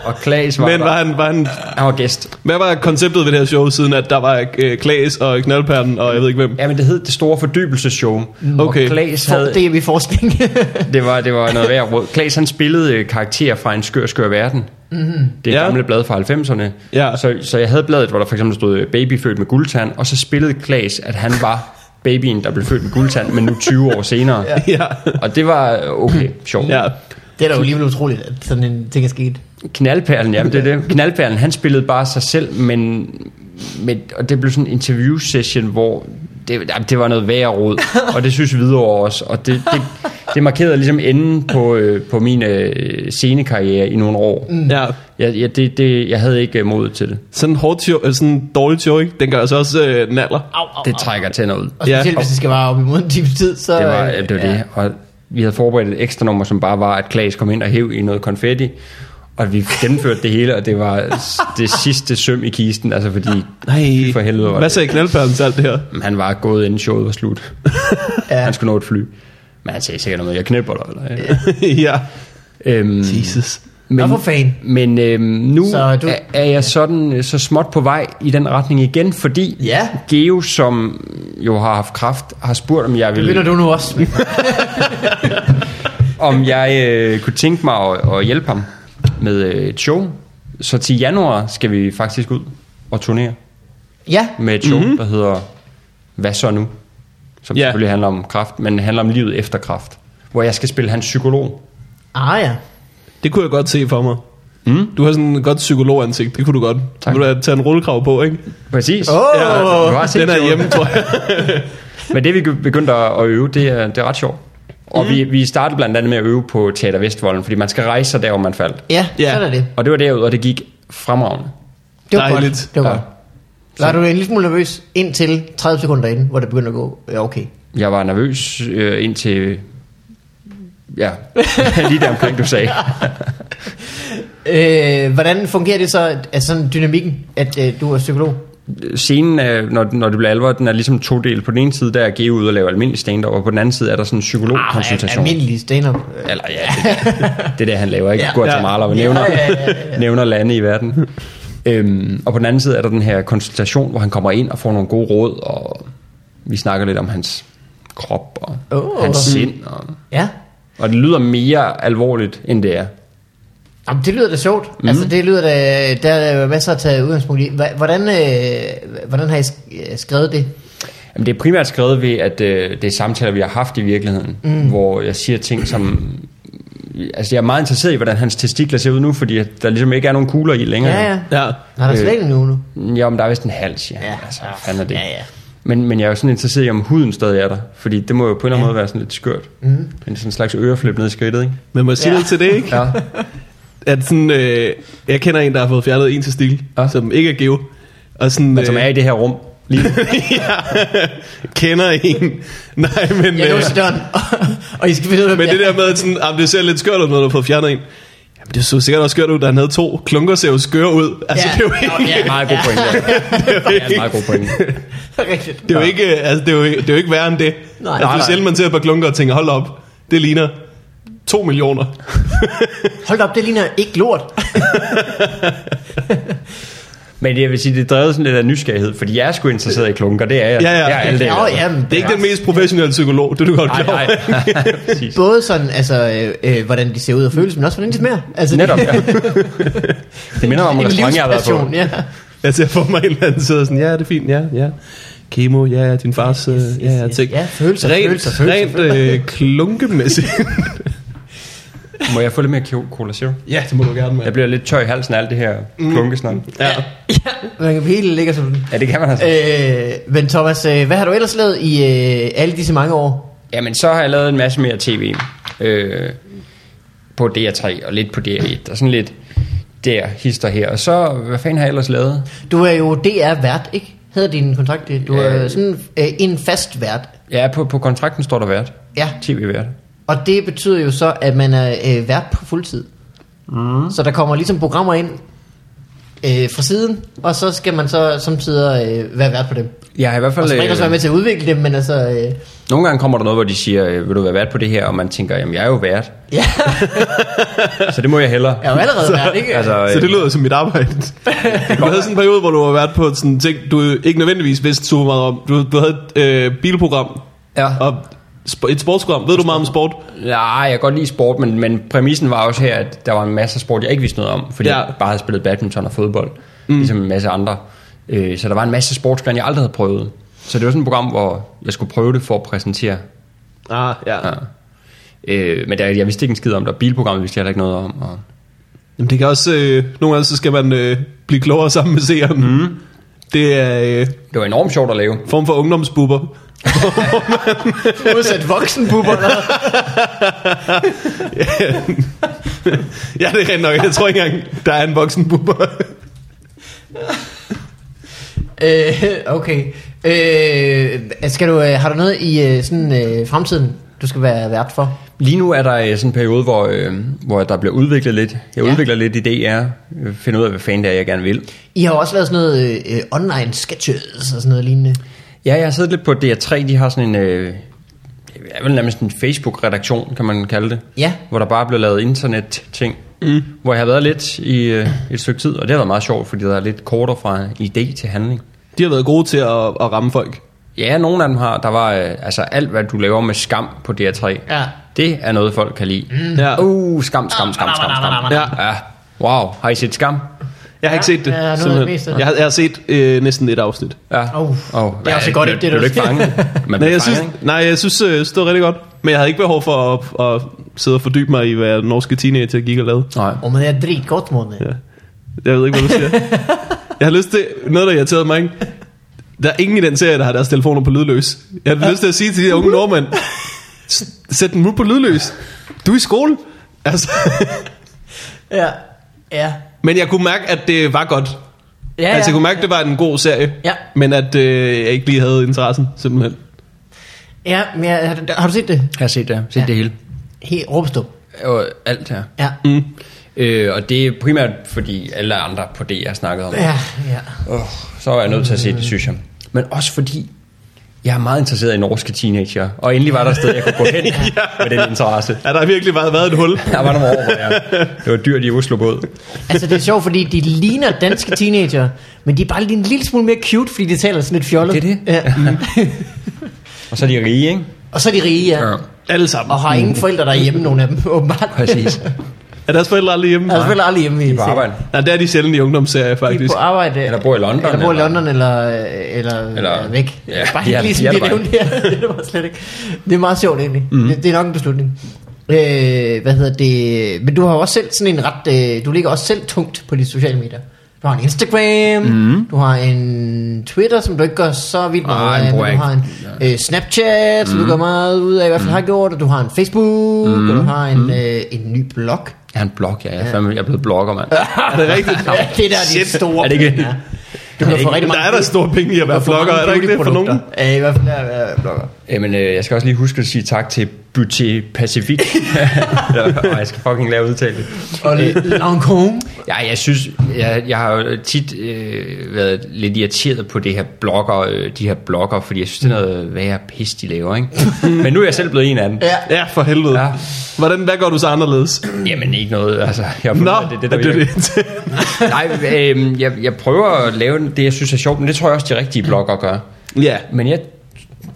Speaker 1: og Klaas var
Speaker 3: Men
Speaker 1: der.
Speaker 3: var han, var han,
Speaker 1: Han var gæst.
Speaker 3: hvad var konceptet ved det her show, siden at der var øh, Klaas og Knaldperlen og jeg ved ikke hvem?
Speaker 1: Ja, men det hed Det Store Fordybelsesshow.
Speaker 3: Okay.
Speaker 1: Og Klaas
Speaker 2: For,
Speaker 1: havde...
Speaker 2: det er vi forskning.
Speaker 1: Mm. Det var, det var noget værd råd. Klaas han spillede øh, karakterer fra en skør, skør verden. Mm-hmm. Det er
Speaker 3: Ja.
Speaker 1: ja. gamle blad fra 90'erne.
Speaker 3: Ja.
Speaker 1: Så, så jeg havde bladet, hvor der for eksempel stod øh, baby født med guldtand, og så spillede Klaas, at han var babyen, der blev født med guldtand, men nu 20 år senere. Ja.
Speaker 3: Ja.
Speaker 1: Og det var øh, okay, sjovt.
Speaker 3: ja.
Speaker 2: det er da jo alligevel utroligt, at sådan en ting er sket.
Speaker 1: Knaldperlen, ja, det er det. Knaldperlen, han spillede bare sig selv, men, men og det blev sådan en interview session, hvor det, jamen, det var noget værre råd, og det synes Hvidovre også, og det, det, det markerede ligesom enden på, øh, på min øh, scenekarriere i nogle år. Mm.
Speaker 3: ja.
Speaker 1: Jeg, jeg, det, det, jeg havde ikke øh, mod til det.
Speaker 3: Sådan en hårdt show, øh, sådan en dårlig show, ikke? Den gør altså også øh, naller.
Speaker 2: Au, au,
Speaker 1: Det
Speaker 2: au.
Speaker 1: trækker tænder ud.
Speaker 2: Og
Speaker 3: Ja.
Speaker 2: specielt, hvis det skal være op imod en time tid, så...
Speaker 1: Det var,
Speaker 2: øh,
Speaker 1: det, var det. Og vi havde forberedt et ekstra nummer, som bare var, at Klaas kom ind og hæv i noget konfetti. Og vi gennemførte det hele, og det var s- det sidste søm i kisten, altså fordi...
Speaker 3: Nej.
Speaker 1: for helvede, var
Speaker 3: Hvad
Speaker 1: det-
Speaker 3: sagde Knaldperlen til alt det her?
Speaker 1: Men Han var gået, inden showet var slut.
Speaker 2: Ja.
Speaker 1: ja. Han skulle nå et fly. Men han sagde sikkert noget, jeg knæpper dig. Eller, ja.
Speaker 3: ja.
Speaker 1: øhm,
Speaker 3: Jesus.
Speaker 2: Nå, for fanden.
Speaker 1: Men øhm, nu
Speaker 2: Så du-
Speaker 1: du... er, er jeg sådan øh, så småt på vej i den retning igen, fordi
Speaker 2: Ja.
Speaker 1: Geo, som jo har haft kraft, har spurgt, om jeg
Speaker 2: Det begynder
Speaker 1: ville,
Speaker 2: du nu også. med.
Speaker 1: om jeg øh, kunne tænke mig at, at hjælpe ham med øh, et show. Så til januar skal vi faktisk ud og turnere
Speaker 2: ja,
Speaker 1: med et show, mm-hmm. der hedder Hvad så nu? Som
Speaker 3: Ja.
Speaker 1: ja. selvfølgelig handler om kraft, men handler om livet efter kraft. Hvor jeg skal spille hans psykolog.
Speaker 2: ah ja.
Speaker 3: Det kunne jeg godt se for mig. Mm. Du har sådan et godt psykologansigt, det kunne du godt.
Speaker 1: Tak.
Speaker 3: Vil du have- tage en rullekrav på, ikke?
Speaker 1: Præcis.
Speaker 2: Åh!
Speaker 1: Ja, du har set
Speaker 3: Den er
Speaker 1: showet.
Speaker 3: hjemme, tror jeg.
Speaker 1: Men det vi begyndte at at øve, det er, det er ret sjovt. Og mm. vi, vi startede blandt andet med at øve på Teater Vestvolden, fordi man skal rejse sig der, hvor man faldt.
Speaker 2: Ja,
Speaker 3: Ja.
Speaker 2: sådan er det.
Speaker 1: Og det var derud, og det gik fremragende.
Speaker 2: Det var
Speaker 3: Dejligt.
Speaker 2: godt. Det var
Speaker 1: Ja.
Speaker 2: godt. Var du en lille smule nervøs indtil 30 sekunder inden, hvor det begyndte at gå, ja okay.
Speaker 1: Jeg var nervøs øh, indtil... Ja, lige der omkring, du sagde.
Speaker 2: Øh, hvordan fungerer det så, altså sådan dynamikken, at øh, du er psykolog?
Speaker 1: Scenen, er, når, når det bliver alvor, den er ligesom to dele. På den ene side, der er Geo ud og laver almindelig stand-up, og på den anden side er der sådan en
Speaker 2: al-
Speaker 1: psykologkonsultation.
Speaker 2: almindelig stand-up.
Speaker 1: Eller Ah, ja, det, er det er det, han laver, ikke?
Speaker 2: Ja.
Speaker 1: Ja. Guatemala, og nævner, ja, ja, ja, ja. nævner lande i verden. Øhm, og på den anden side er der den her konsultation, hvor han kommer ind og får nogle gode råd, og vi snakker lidt om hans krop og
Speaker 2: Åh.
Speaker 1: oh. hans sind. Og,
Speaker 2: Ja.
Speaker 1: og det lyder mere alvorligt, end det er.
Speaker 2: Jamen, det lyder da sjovt.
Speaker 1: Mhm.
Speaker 2: Mm. Altså, det lyder da, der er masser at tage udgangspunkt i. Hva- Hvordan, øh, hvordan har I sk- øh, skrevet det?
Speaker 1: Jamen, det er primært skrevet ved, at øh, det er samtaler, vi har haft i virkeligheden, mm. hvor jeg siger ting, som... Altså, jeg er meget interesseret i, hvordan hans testikler ser ud nu, fordi at der ligesom ikke er nogen kugler i længere.
Speaker 2: Ja, ja.
Speaker 3: Ja.
Speaker 2: Nå, der er
Speaker 1: Øh,
Speaker 2: slet ikke nogen nu.
Speaker 1: Ja, men der er vist en hals, ja.
Speaker 2: Ja.
Speaker 1: ja. Altså, hvad fanden er det?
Speaker 2: Ja, ja.
Speaker 1: Men, men jeg er jo sådan interesseret i, om huden stadig er der. Fordi det må jo på en eller anden måde være sådan lidt skørt. Mm. En sådan slags øreflip ned i skridtet, ikke?
Speaker 3: Men må jeg sige
Speaker 2: Ja.
Speaker 3: ja. noget til det, ikke?
Speaker 1: Ja.
Speaker 3: At sådan, øh, jeg kender en, der har fået fjernet en til stil,
Speaker 1: Ja.
Speaker 3: ja. som ikke er geo. Og sådan, øh,
Speaker 1: Men som er i det her rum. Lige nu.
Speaker 3: ja, kender en. Nej, men...
Speaker 2: Jeg
Speaker 3: øh,
Speaker 2: låser døren, og I skal finde ud af, hvem
Speaker 3: Men det
Speaker 2: jeg er.
Speaker 3: der med, at sådan, ah, det ser lidt skørt ud, når du har fået fjernet en. Jamen, det så sikkert også skørt ud, da han havde to. Klunker ser jo skøre ud. Altså,
Speaker 2: Ja.
Speaker 3: det er jo
Speaker 2: Nå,
Speaker 3: ikke...
Speaker 2: ja.
Speaker 1: meget god pointe. Ja. Det er en meget god pointe.
Speaker 2: Rigtigt.
Speaker 3: Det er jo ikke, øh, altså, det er jo, ikke- det er jo ikke værre end
Speaker 2: Nej.
Speaker 3: det. altså,
Speaker 2: Nej,
Speaker 3: det
Speaker 2: nej.
Speaker 3: er sjældent, man ser et par klunker og tænker, hold op, det ligner 2 millioner.
Speaker 2: Hold da op, det ligner ikke lort.
Speaker 1: Men jeg vil sige, det drevet sådan lidt af nysgerrighed. Fordi jeg er sgu interesseret i klunker, det er jeg.
Speaker 3: Ja, ja.
Speaker 1: Det er alle
Speaker 2: Nå,
Speaker 1: dage. altså.
Speaker 2: jamen,
Speaker 3: Det er ikke den mest professionelle psykolog, det er du godt
Speaker 1: Nej,
Speaker 3: klar
Speaker 1: nej.
Speaker 3: over.
Speaker 1: Præcis.
Speaker 2: Både sådan, altså, øh, øh, hvordan de ser ud og føles, men også hvordan de smager. Altså,
Speaker 1: Netop, ja. Det minder mig om en restaurant, jeg har været på.
Speaker 2: Ja.
Speaker 3: Jeg ser for mig en eller anden sidder sådan, ja, det er fint, ja, ja. Kemo, ja, ja, din fars, yes, yes, ja, ja, ting.
Speaker 2: Ja, følelser,
Speaker 3: rent,
Speaker 2: følelser, følelser,
Speaker 3: Rent øh, klunkemæssigt.
Speaker 1: Må jeg få lidt mere Cola- Cola Zero?
Speaker 3: ja, det må du gerne,
Speaker 1: Jeg
Speaker 3: med.
Speaker 1: bliver lidt tør i halsen af alt det her
Speaker 2: Mm.
Speaker 1: klunkesnak.
Speaker 3: Ja.
Speaker 2: Man kan hele ligger som den.
Speaker 1: Ja, det kan man altså.
Speaker 2: Øh, men Thomas, øh, hvad har du ellers lavet i øh, alle disse mange år?
Speaker 1: Jamen, så har jeg lavet en masse mere tv øh, på DR3 og lidt på DR1 og sådan lidt der, hister her. Og så, hvad fanden har jeg ellers lavet?
Speaker 2: Du er jo DR-vært, ikke? Hedder din kontrakt det? Du er
Speaker 1: Øh.
Speaker 2: sådan øh, en fast vært.
Speaker 1: Ja, på, på kontrakten står der vært.
Speaker 2: Ja.
Speaker 1: TV-vært.
Speaker 2: Og det betyder jo så, at man er øh, vært på fuldtid. Mm. Så der kommer ligesom programmer ind øh, fra siden, og så skal man så samtidig øh, være vært på dem.
Speaker 1: Jeg har i hvert
Speaker 2: Og så kan man ikke også
Speaker 1: fald...
Speaker 2: være
Speaker 1: Øh,
Speaker 2: med til at udvikle dem, men altså... Øh,
Speaker 1: nogle gange kommer der noget, hvor de siger, øh, vil du være vært på det her? Og man tænker, jamen jeg er jo vært,
Speaker 2: ja,
Speaker 1: så det må jeg hellere.
Speaker 2: jeg er jo allerede vært, ikke?
Speaker 1: altså, øh,
Speaker 3: Så det lyder som mit arbejde. Du havde sådan en periode, hvor du har været på sådan en ting, du ikke nødvendigvis vidste super meget om. Du, du havde et øh, bilprogram
Speaker 1: Ja.
Speaker 3: og sp- et sportsprogram. Ved du meget om sport?
Speaker 1: Nej, jeg kan godt lide sport, men, men præmissen var også her, at der var en masse sport, jeg ikke vidste noget om, fordi ja.
Speaker 3: Ja.
Speaker 1: jeg bare havde spillet badminton og fodbold, mm. ligesom en masse andre. Øh, så der var en masse sportsgrene, jeg aldrig havde prøvet. Så det var sådan et program, hvor jeg skulle prøve det for at præsentere.
Speaker 3: Ah,
Speaker 1: Ja. Øh, men der, jeg vidste ikke en skid om det, og bilprogrammet vidste jeg heller ikke noget om. Og...
Speaker 3: Jamen, det kan også... Øh, nogle gange så skal man øh, blive klogere sammen med seeren. Mm. Det er øh,
Speaker 1: Det var enormt sjovt at lave.
Speaker 3: form for ungdomsbubber.
Speaker 2: Modsat voksenbubber. eller?
Speaker 3: Ja, det er rent nok. Jeg tror ikke engang, der er en voksen bubber.
Speaker 2: øh, okay. Øh, skal du, øh, har du noget i øh, sådan, øh, fremtiden, du skal være vært for?
Speaker 1: Lige nu er der øh, sådan en periode, hvor, øh, hvor der bliver udviklet lidt. Jeg
Speaker 2: Ja.
Speaker 1: ja. udvikler lidt i DR, øh, finder ud af, hvad fanden det er, jeg gerne vil.
Speaker 2: I har jo også lavet sådan noget øh, øh, online sketches og sådan noget lignende.
Speaker 1: Ja, jeg har siddet lidt på DR3. De har sådan en... Øh, det er vel nærmest en Facebook-redaktion, kan man kalde det.
Speaker 2: Ja.
Speaker 1: Hvor der bare blev lavet internet-ting. Mm. Hvor jeg har været lidt i øh, et stykke tid, og det har været meget sjovt, fordi der er lidt kortere fra idé til handling.
Speaker 3: De har været gode til at, at ramme folk.
Speaker 1: Ja, nogle af dem har. Der var øh, altså alt, hvad du laver med skam på DR3.
Speaker 2: Ja.
Speaker 1: Det er noget, folk kan lide. Mm.
Speaker 3: Ja.
Speaker 1: Uh, skam, skam, skam, skam, skam.
Speaker 2: Ah,
Speaker 3: Ja.
Speaker 1: Ja. Wow, har I set skam?
Speaker 3: Jeg har ikke set det.
Speaker 2: ja, noget af det
Speaker 3: simpelthen.
Speaker 2: meste.
Speaker 3: jeg, har, jeg har set øh, næsten et afsnit.
Speaker 1: Ja.
Speaker 2: Au. Det er også
Speaker 1: ja, blev-
Speaker 2: godt, ikke? Det er
Speaker 1: blev
Speaker 2: du-
Speaker 1: du ikke fanget. Man
Speaker 3: Nej,
Speaker 1: blev
Speaker 3: jeg synes,
Speaker 1: fanget, ikke?
Speaker 3: nej, jeg synes, øh, synes, det var rigtig godt. Men jeg havde ikke behov for at, at sidde og fordybe mig i, hvad norske teenager gik og lavede.
Speaker 1: Nej.
Speaker 2: Og man er drit godt, måned. Ja.
Speaker 3: Ja. Jeg ved ikke, hvad du siger. jeg har lyst til... Noget, der irriterede mig, ikke? Der er ingen i den serie, der har deres telefoner på lydløs. Jeg har lyst til at sige til de her unge nordmænd, "S- sæt den nu på lydløs. Du er i skole. Altså,
Speaker 2: ja. Ja.
Speaker 3: men jeg kunne mærke, at det var godt.
Speaker 2: Ja,
Speaker 3: altså, jeg
Speaker 2: ja.
Speaker 3: kunne mærke, det var en god serie,
Speaker 2: Ja.
Speaker 3: men at øh, jeg ikke lige havde interessen, simpelthen.
Speaker 2: Ja, men jeg, har, du- har du set det?
Speaker 1: Jeg har set det, set
Speaker 2: Ja.
Speaker 1: ja. det hele.
Speaker 2: Helt Råbstrup.
Speaker 1: Og alt her.
Speaker 2: Ja.
Speaker 3: Mm.
Speaker 1: Øh, og det er primært, fordi alle andre på DR snakkede om det.
Speaker 2: Ja, ja.
Speaker 1: Oh, så var jeg nødt til at se det, synes jeg. Men også fordi, jeg er meget interesseret i norske teenager. Og endelig var der et sted, jeg kunne gå hen med den interesse.
Speaker 3: Ja, der har virkelig været, været et hul.
Speaker 1: Der var nogle år, hvor jeg, det var dyrt i Oslo båd.
Speaker 2: Altså det er sjovt, fordi de ligner danske teenager, men de er bare lige en lille smule mere cute, fordi de taler sådan lidt fjollet.
Speaker 1: Det er det.
Speaker 2: Ja.
Speaker 1: Og så er de rige, ikke?
Speaker 2: Og så er de rige, ja. ja.
Speaker 3: Alle sammen.
Speaker 2: Og har ingen forældre derhjemme, nogen af dem, åbenbart.
Speaker 1: Præcis.
Speaker 3: Er deres forældre aldrig hjemme?
Speaker 2: Altså selvfølgelig aldrig hjemme i
Speaker 1: På arbejde.
Speaker 3: Nej, det er de sjældent i ungdomsserier,
Speaker 2: De er
Speaker 3: faktisk.
Speaker 2: på arbejde.
Speaker 1: Eller bor i London,
Speaker 2: Eller bor i
Speaker 1: eller-
Speaker 2: London, eller, eller, eller
Speaker 1: Eller-
Speaker 2: væk.
Speaker 1: Ja,
Speaker 2: bare
Speaker 1: de
Speaker 2: ikke
Speaker 1: er-
Speaker 2: lige
Speaker 1: de er
Speaker 2: sådan, det
Speaker 1: der bare Mhm.
Speaker 2: nævnte her. Det er det bare slet ikke. Det er meget sjovt egentlig. Mm. Det, det, er nok en beslutning. Øh, hvad hedder det? Men du har jo også selv sådan en ret... Øh, du ligger også selv tungt på de sociale medier. Du har en Instagram, mm. du har en Twitter, som du ikke gør så vildt
Speaker 1: Mhm. Nej,
Speaker 2: meget
Speaker 1: den
Speaker 2: af,
Speaker 1: bruger
Speaker 2: men du
Speaker 1: jeg Mhm.
Speaker 2: har en øh, Snapchat, som du gør meget ud af, i hvert fald har gjort, og du har en Facebook, mm. og du har
Speaker 1: Mhm.
Speaker 2: en, øh, en ny blog.
Speaker 1: Jeg har en blog, ja. Jeg er, fandme, jeg er blevet blogger, mand.
Speaker 3: Er det rigtigt?
Speaker 2: Ja, det der er de
Speaker 3: Shit.
Speaker 2: store
Speaker 1: Er det ikke-
Speaker 2: penge, ja. Du kan få rigtig
Speaker 3: Der
Speaker 2: mange
Speaker 3: er der store penge i at være flogger, er der ikke det for nogen?
Speaker 2: Ja, i hvert fald er jeg blogger.
Speaker 1: Jamen, øh, jeg skal også lige huske at sige tak til Butte Pacific. og jeg skal fucking lave udtale det.
Speaker 3: Øh.
Speaker 2: Og Lancome.
Speaker 1: Ja, jeg synes, jeg, jeg har jo tit øh, været lidt irriteret på det her blogger, øh, de her blogger, fordi jeg synes, det er noget værre pis, de laver, ikke? Men nu er jeg selv blevet en af dem.
Speaker 2: Ja.
Speaker 3: Ja, for helvede.
Speaker 1: Ja.
Speaker 3: Hvordan, hvad gør du så anderledes?
Speaker 1: Jamen, ikke noget, altså. Jeg har fundet
Speaker 3: Nå,
Speaker 1: ud af, det, er det, der
Speaker 3: er det,
Speaker 1: virker.
Speaker 3: det.
Speaker 1: Nej, øh, jeg, jeg prøver at lave det, jeg synes er sjovt, men det tror jeg også, de rigtige blogger gør.
Speaker 3: Ja.
Speaker 1: Men jeg,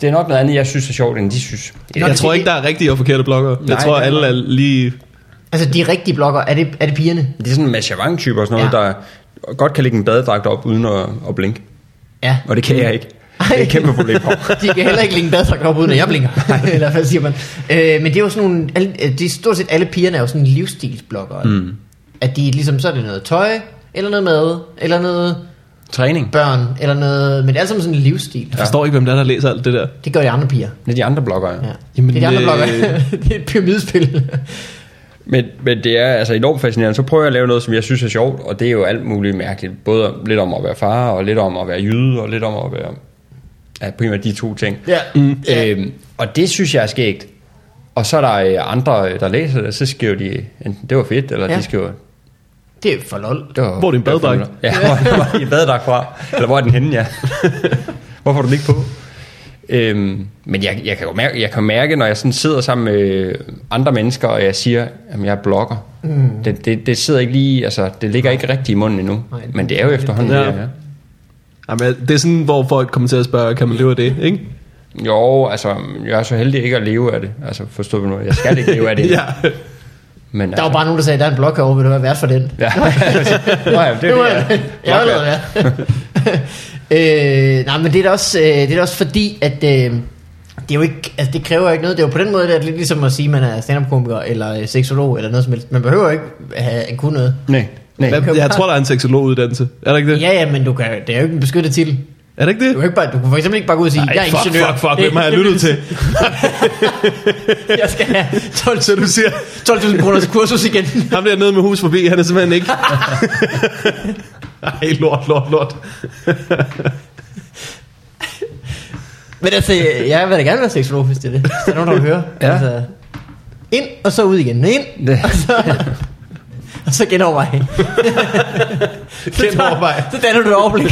Speaker 1: det er nok noget andet, jeg synes er sjovt, end de synes.
Speaker 2: Nå,
Speaker 3: Jeg tror ikke, der er rigtige og forkerte blogger. Jeg
Speaker 1: Nej,
Speaker 3: tror,
Speaker 1: det er-
Speaker 3: alle er lige...
Speaker 2: Altså, de rigtige blogger, er det, er det pigerne?
Speaker 1: Det er sådan en Mashavang-type og sådan noget,
Speaker 2: Ja.
Speaker 1: ja. der godt kan lægge en badedragt op uden at, at blinke.
Speaker 2: Ja.
Speaker 1: Og det kan jeg ikke. Det er et kæmpe problem for mig.
Speaker 2: De kan heller ikke linke baddragt op, uden at jeg blinker. Eller hvad siger man? Øh, men det er jo sådan nogle... Alle, øh, de, stort set alle pigerne er jo sådan livsstilsbloggere. Mm. At de ligesom, så er det noget tøj, eller noget mad, eller noget
Speaker 1: Træning.
Speaker 2: børn, eller noget... Men det er alt sammen sådan en livsstil.
Speaker 3: Jeg forstår ikke, hvem der er, der læser alt det der.
Speaker 2: Det gør de andre piger.
Speaker 1: Det er de andre bloggere. Ja.
Speaker 2: Ja. Jamen, det er de andre
Speaker 3: øh,
Speaker 2: blogger. det er et pyramidespil.
Speaker 1: Men, men det er altså enormt fascinerende. Så prøver jeg at lave noget, som jeg synes er sjovt, og det er jo alt muligt mærkeligt. Både om- lidt om at være far, og lidt om at være jyde, og lidt om at være... Ja, primært de to ting.
Speaker 2: Ja.
Speaker 1: Mm.
Speaker 2: Ja.
Speaker 1: Øhm, og det synes jeg er skægt. Og så er der øh, andre, øh, der læser det, så skriver de, enten det var fedt, eller
Speaker 2: Ja.
Speaker 1: ja. de skriver,
Speaker 2: det er for lol.
Speaker 1: det var...
Speaker 3: Hvor er din
Speaker 1: det var
Speaker 3: badedragt?
Speaker 1: fandme- Ja, hvor, hvor er din badedrag fra? Eller hvor er den henne, ja? Hvorfor har du den ikke på? Øhm, men jeg, jeg, kan jo mærke, jeg kan mærke, når jeg sådan sidder sammen med andre mennesker, og jeg siger, at jeg er blogger. Mm. Det, det, det, sidder ikke lige, altså, det ligger ikke rigtigt i munden endnu.
Speaker 2: Nej,
Speaker 1: Nej,
Speaker 2: det-
Speaker 1: men det er jo efterhånden.
Speaker 3: Ja.
Speaker 1: Ja. Ja.
Speaker 3: Jamen, det er sådan, hvor folk kommer til at spørge, kan man leve af det, ikke?
Speaker 1: Jo, altså, jeg er så heldig ikke at leve af det. Altså, forstå mig nu, jeg skal ikke leve af det.
Speaker 3: ja.
Speaker 1: men,
Speaker 2: Der
Speaker 1: altså,
Speaker 2: var bare nogen, der sagde, der er en blog herovre, vil du være vært for den?
Speaker 1: Ja. Nå, ja, det er
Speaker 2: Det
Speaker 1: jo
Speaker 2: var
Speaker 1: det, jeg er.
Speaker 2: jeg vil være. øh, nej, men det er da også, øh, det er da også fordi, at øh, det, er jo ikke, altså, det kræver jo ikke noget. Det er jo på den måde, det er lidt ligesom at sige, at man er stand-up-komiker, eller øh, seksolog, eller noget som helst. Man behøver jo ikke have en kunne noget.
Speaker 1: Nej, nej.
Speaker 3: Hvad, jeg tror, der er en seksologuddannelse. Er der ikke det?
Speaker 2: Ja, ja, men du kan, det er jo ikke en beskyttet titel.
Speaker 3: Er det ikke
Speaker 2: Du
Speaker 3: det?
Speaker 2: kan, ikke bare, du kan for eksempel ikke bare gå ud og sige,
Speaker 3: Ej,
Speaker 2: jeg er
Speaker 3: fuck,
Speaker 2: ingeniør.
Speaker 3: fuck, fuck,
Speaker 2: Det-
Speaker 3: hvem har jeg lyttet til?
Speaker 2: Jeg skal have 12
Speaker 3: Så du siger,
Speaker 2: 12.000 kroners kursus igen.
Speaker 3: ham der nede med hus forbi, han er simpelthen ikke... Ej, lort, lort, lort.
Speaker 2: Men altså, jeg vil da gerne være seksolog, hvis det er det. Hvis der er nogen, der vil høre.
Speaker 1: Ja.
Speaker 2: Altså, ind, og så ud igen. Ind,
Speaker 1: Det-
Speaker 2: og så... Og så genovervej.
Speaker 3: Genovervej.
Speaker 2: Så danner du et overblik.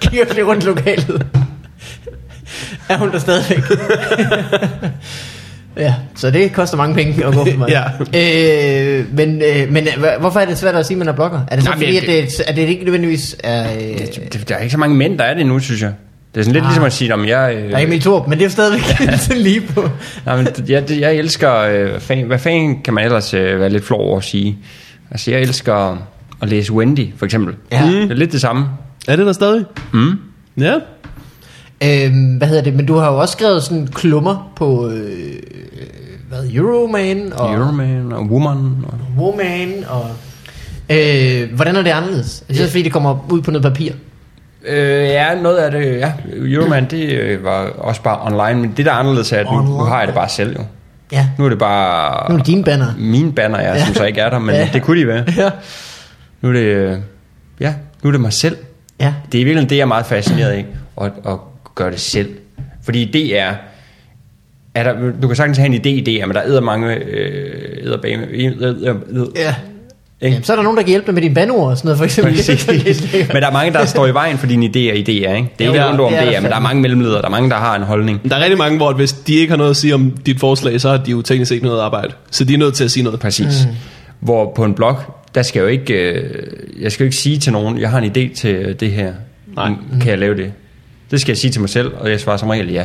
Speaker 2: Kigger lidt rundt i lokalet. Er hun der stadigvæk? ja, så det koster mange penge at gå for mig.
Speaker 3: Ja.
Speaker 2: Øh, men, øh, men øh, hva- hvorfor er det svært at sige, at man er blogger? Er det så
Speaker 1: Nej, men
Speaker 2: fordi, at
Speaker 1: jeg-
Speaker 2: det, at det ikke nødvendigvis er... Øh,
Speaker 1: Altså, Det, det, der er ikke så mange mænd, der er det nu, synes jeg. Det er sådan lidt
Speaker 2: Ah.
Speaker 1: ah. ligesom at sige, om jeg... Øh,
Speaker 2: der er Emil Thorup, men det er jo stadigvæk lige på.
Speaker 1: Nej, men det- jeg, det- jeg elsker... Øh, fan, hvad fanden kan man ellers øh, være lidt flov over at sige? Altså, jeg elsker at læse Wendy, for eksempel.
Speaker 2: Ja.
Speaker 1: Det er lidt det samme.
Speaker 3: Er det der stadig?
Speaker 1: Mm.
Speaker 3: Ja.
Speaker 2: Øhm, hvad hedder det? Men du har jo også skrevet sådan klummer på øh, hvad Euroman og
Speaker 1: Euroman og Woman. Og...
Speaker 2: Woman og øh, hvordan er det anderledes? Det er fordi det kommer ud på noget papir.
Speaker 1: Øh, ja, noget af det... Ja, Euroman, det øh, var også bare online. Men det, der er anderledes, er, at nu, nu
Speaker 2: Online.
Speaker 1: har jeg det bare selv, jo.
Speaker 2: Ja.
Speaker 1: Nu er det bare...
Speaker 2: Nu er det dine banner.
Speaker 1: mine banner, jeg, ja. som så ikke er der, men
Speaker 2: Ja.
Speaker 1: ja. det kunne de være.
Speaker 2: Ja.
Speaker 1: Nu er det... øh, Ja, Nu er det mig selv.
Speaker 2: Ja.
Speaker 1: Det er i virkeligheden det, jeg er meget fascineret af, at, at gøre det selv. Fordi det er... er der, du kan sagtens have en idé i det, men der æder mange øh, æderbame...
Speaker 2: Ja. Jamen, så er der nogen, der kan hjælpe dig med dine bandord og sådan noget, for eksempel.
Speaker 1: Præcis. men der er mange, der står i vejen for dine idéer i DR, ikke? Det er ikke
Speaker 2: Ja,
Speaker 1: ja, ondt om
Speaker 2: det er
Speaker 1: DR, men
Speaker 2: der
Speaker 1: der er
Speaker 2: fandme.
Speaker 1: mange mellemledere, der er mange, der har en holdning.
Speaker 3: Men Der er rigtig mange, hvor hvis de ikke har noget at sige om dit forslag, så har de jo teknisk ikke noget arbejde. Så de er nødt til at sige noget.
Speaker 1: Præcis. Mm. Hvor på en blog, der skal jeg jo ikke, øh, jeg skal jo ikke sige til nogen, jeg har en idé til øh, det her.
Speaker 3: Nej.
Speaker 1: Mm, Kan jeg lave det? Det skal jeg sige til mig selv, og jeg svarer som regel ja.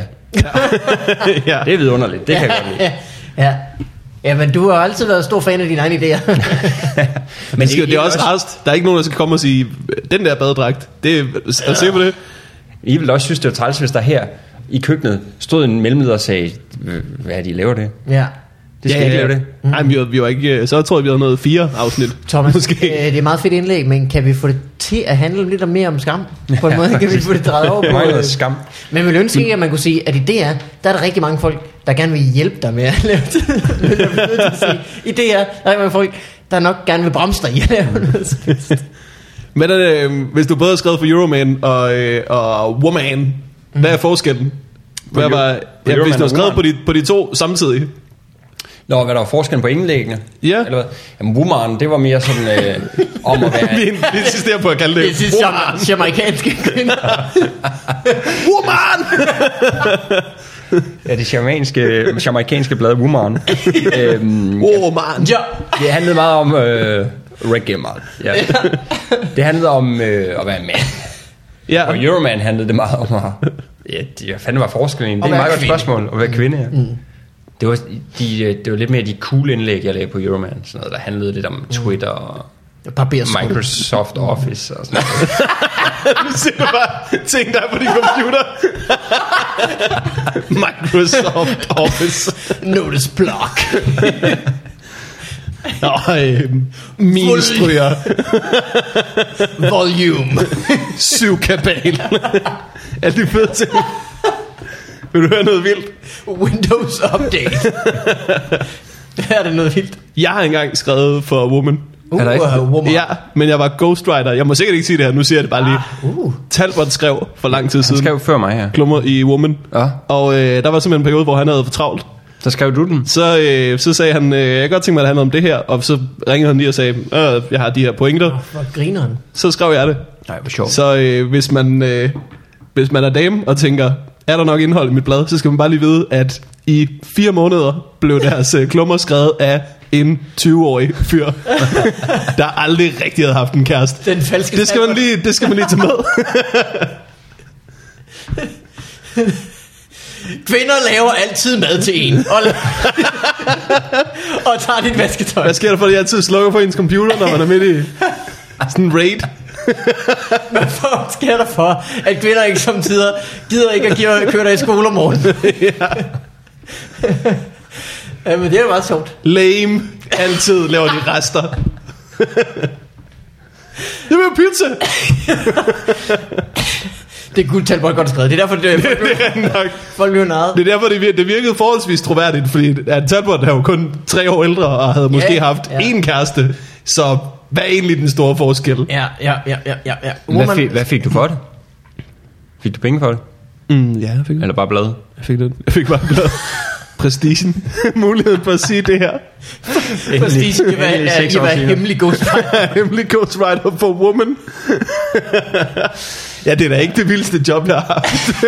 Speaker 3: ja.
Speaker 1: Det er vidunderligt, det kan jeg godt lide.
Speaker 2: ja. ja. Ja, men du har altid været stor fan af dine egne idéer.
Speaker 1: Men
Speaker 3: Men det, skal, det er også rarest. Der er ikke nogen, der skal komme og sige, den der badedragt, det er, er du sikker på det?
Speaker 1: I ville også synes, det var træls, hvis der her i køkkenet stod en mellemleder og sagde, "Øh, hvad er de laver det?
Speaker 2: ja.
Speaker 1: Det skal ja, ikke lave det.
Speaker 3: Mm. Nej, men vi var, vi var ikke, øh, så tror jeg, vi havde noget fire afsnit.
Speaker 2: Thomas,
Speaker 3: Måske.
Speaker 2: øh, det er et meget fedt indlæg, men kan vi få det til at handle lidt mere om skam? På en
Speaker 1: Ja,
Speaker 2: måde kan vi
Speaker 1: præcis.
Speaker 2: få det drejet over
Speaker 1: Der
Speaker 2: på.
Speaker 1: mangler
Speaker 2: øh,
Speaker 1: skam.
Speaker 2: Men vil ønske, at man kunne sige, at i DR, der er der rigtig mange folk, der gerne vil hjælpe dig med at lave det. Men jeg bliver nødt til at sige, I DR, der er rigtig mange folk, der nok gerne vil bremse dig i at lave noget. som helst.
Speaker 3: Men øh, hvis du både har skrevet for Euroman og, øh, og Woman, mm.
Speaker 1: Mhm.
Speaker 3: hvad er forskellen? Hvad
Speaker 1: Eu-
Speaker 3: var,
Speaker 1: på
Speaker 3: ja, hvis
Speaker 1: Euroman
Speaker 3: du har
Speaker 1: og
Speaker 3: skrevet
Speaker 1: Woman?
Speaker 3: på de, på de to samtidig.
Speaker 1: Nå, hvad der var forskellen på indlæggene?
Speaker 3: Ja.
Speaker 1: Eller hvad? Jamen, woman, det var mere sådan øh, om at være...
Speaker 3: vi, vi insisterer på at kalde det.
Speaker 2: Det synes jeg, jamaikanske kvinder.
Speaker 3: Woman!
Speaker 1: Ja, det jamaikanske, jamaikanske blad Woman. øhm,
Speaker 3: Woman!
Speaker 2: Ja.
Speaker 1: det handlede meget om øh, reggae meget. Ja. Det handlede om øh, at være en mand.
Speaker 3: Ja,
Speaker 1: Og Euroman handlede det meget om at... Ja, de, jeg fandt, var forskellen. Det er
Speaker 2: At
Speaker 1: et
Speaker 2: være
Speaker 1: meget godt
Speaker 2: kvinde.
Speaker 1: spørgsmål at være kvinde. Ja. Mm. Det, var, de, øh, det var lidt mere de cool indlæg, jeg lavede på Euroman. Sådan noget, der handlede lidt om Twitter og
Speaker 2: Barbersko.
Speaker 1: Microsoft Office og sådan noget.
Speaker 3: nu ser du bare ting, der er på din computer. Microsoft Office.
Speaker 2: Notice block.
Speaker 3: Nej,
Speaker 1: øhm,
Speaker 3: min stryger.
Speaker 2: Volume.
Speaker 3: Syv kabal. er det fedt ting? Vil du høre noget vildt?
Speaker 2: Windows update. Her er det noget vildt.
Speaker 3: Jeg har engang skrevet for Woman.
Speaker 1: Er der ikke?
Speaker 2: uh, woman.
Speaker 3: Ja, men jeg var ghostwriter. Jeg må sikkert ikke sige det her, nu siger jeg det bare lige.
Speaker 2: Uh.
Speaker 3: Talbot skrev for lang
Speaker 1: Ah.
Speaker 3: tid
Speaker 1: Han
Speaker 3: siden
Speaker 1: skrev før mig her.
Speaker 3: klummer i Woman.
Speaker 1: Ja.
Speaker 3: Og øh, der var simpelthen en periode, hvor han havde for travlt.
Speaker 1: Så skrev du den.
Speaker 3: Så, øh, så sagde han, øh, jeg kan godt tænke mig, at det handler om det her. Og så ringede han lige og sagde, øh, jeg har de her pointer.
Speaker 2: Hvor grineren.
Speaker 3: Så skrev jeg det.
Speaker 1: Nej, hvor sjovt.
Speaker 3: Så øh, hvis, man, øh, hvis man er dame og tænker, er der nok indhold i mit blad, så skal man bare lige vide, at i fire måneder blev deres øh, klummer skrevet af en 20-årig fyr, der aldrig rigtig havde haft en kæreste.
Speaker 2: Den falske
Speaker 3: Det skal man lige, det skal man lige tage med.
Speaker 2: Kvinder laver altid mad til en. Og, og tager dit vasketøj.
Speaker 3: Hvad sker der for, at jeg altid slukker for ens computer, når man er midt i sådan en raid?
Speaker 2: Hvad sker der for, at kvinder ikke samtidig gider ikke at give, køre dig i skole om morgenen? ja. men det er meget sjovt.
Speaker 3: Lame. Altid laver de rester. Jeg vil have pizza.
Speaker 2: Det er guldtalbot godt skrevet. Det er derfor, det er,
Speaker 3: Det er nok.
Speaker 2: folk bliver narret.
Speaker 3: Det er derfor, det vir- det virkede forholdsvis troværdigt, fordi at Talbot er jo kun tre år ældre, og havde måske
Speaker 2: Ja,
Speaker 3: haft
Speaker 2: ja.
Speaker 3: én kæreste, så hvad er egentlig den store forskel?
Speaker 2: Ja, ja, ja, ja, ja. ja.
Speaker 1: Hvad, fik, hvad fik du for det? Fik du penge for det?
Speaker 3: Mm, ja, jeg fik,
Speaker 1: Eller bare blad?
Speaker 3: jeg fik den. Jeg fik bare bladet. Prestigen. Muligheden for at sige det her.
Speaker 2: Præcis, det var,
Speaker 1: Endelig
Speaker 2: ja,
Speaker 1: seks
Speaker 2: I
Speaker 1: år
Speaker 2: var
Speaker 1: senere.
Speaker 2: hemmelig god
Speaker 3: Hemmelig Ghost Rider for Woman. ja, det er da ikke det vildeste job, jeg har haft.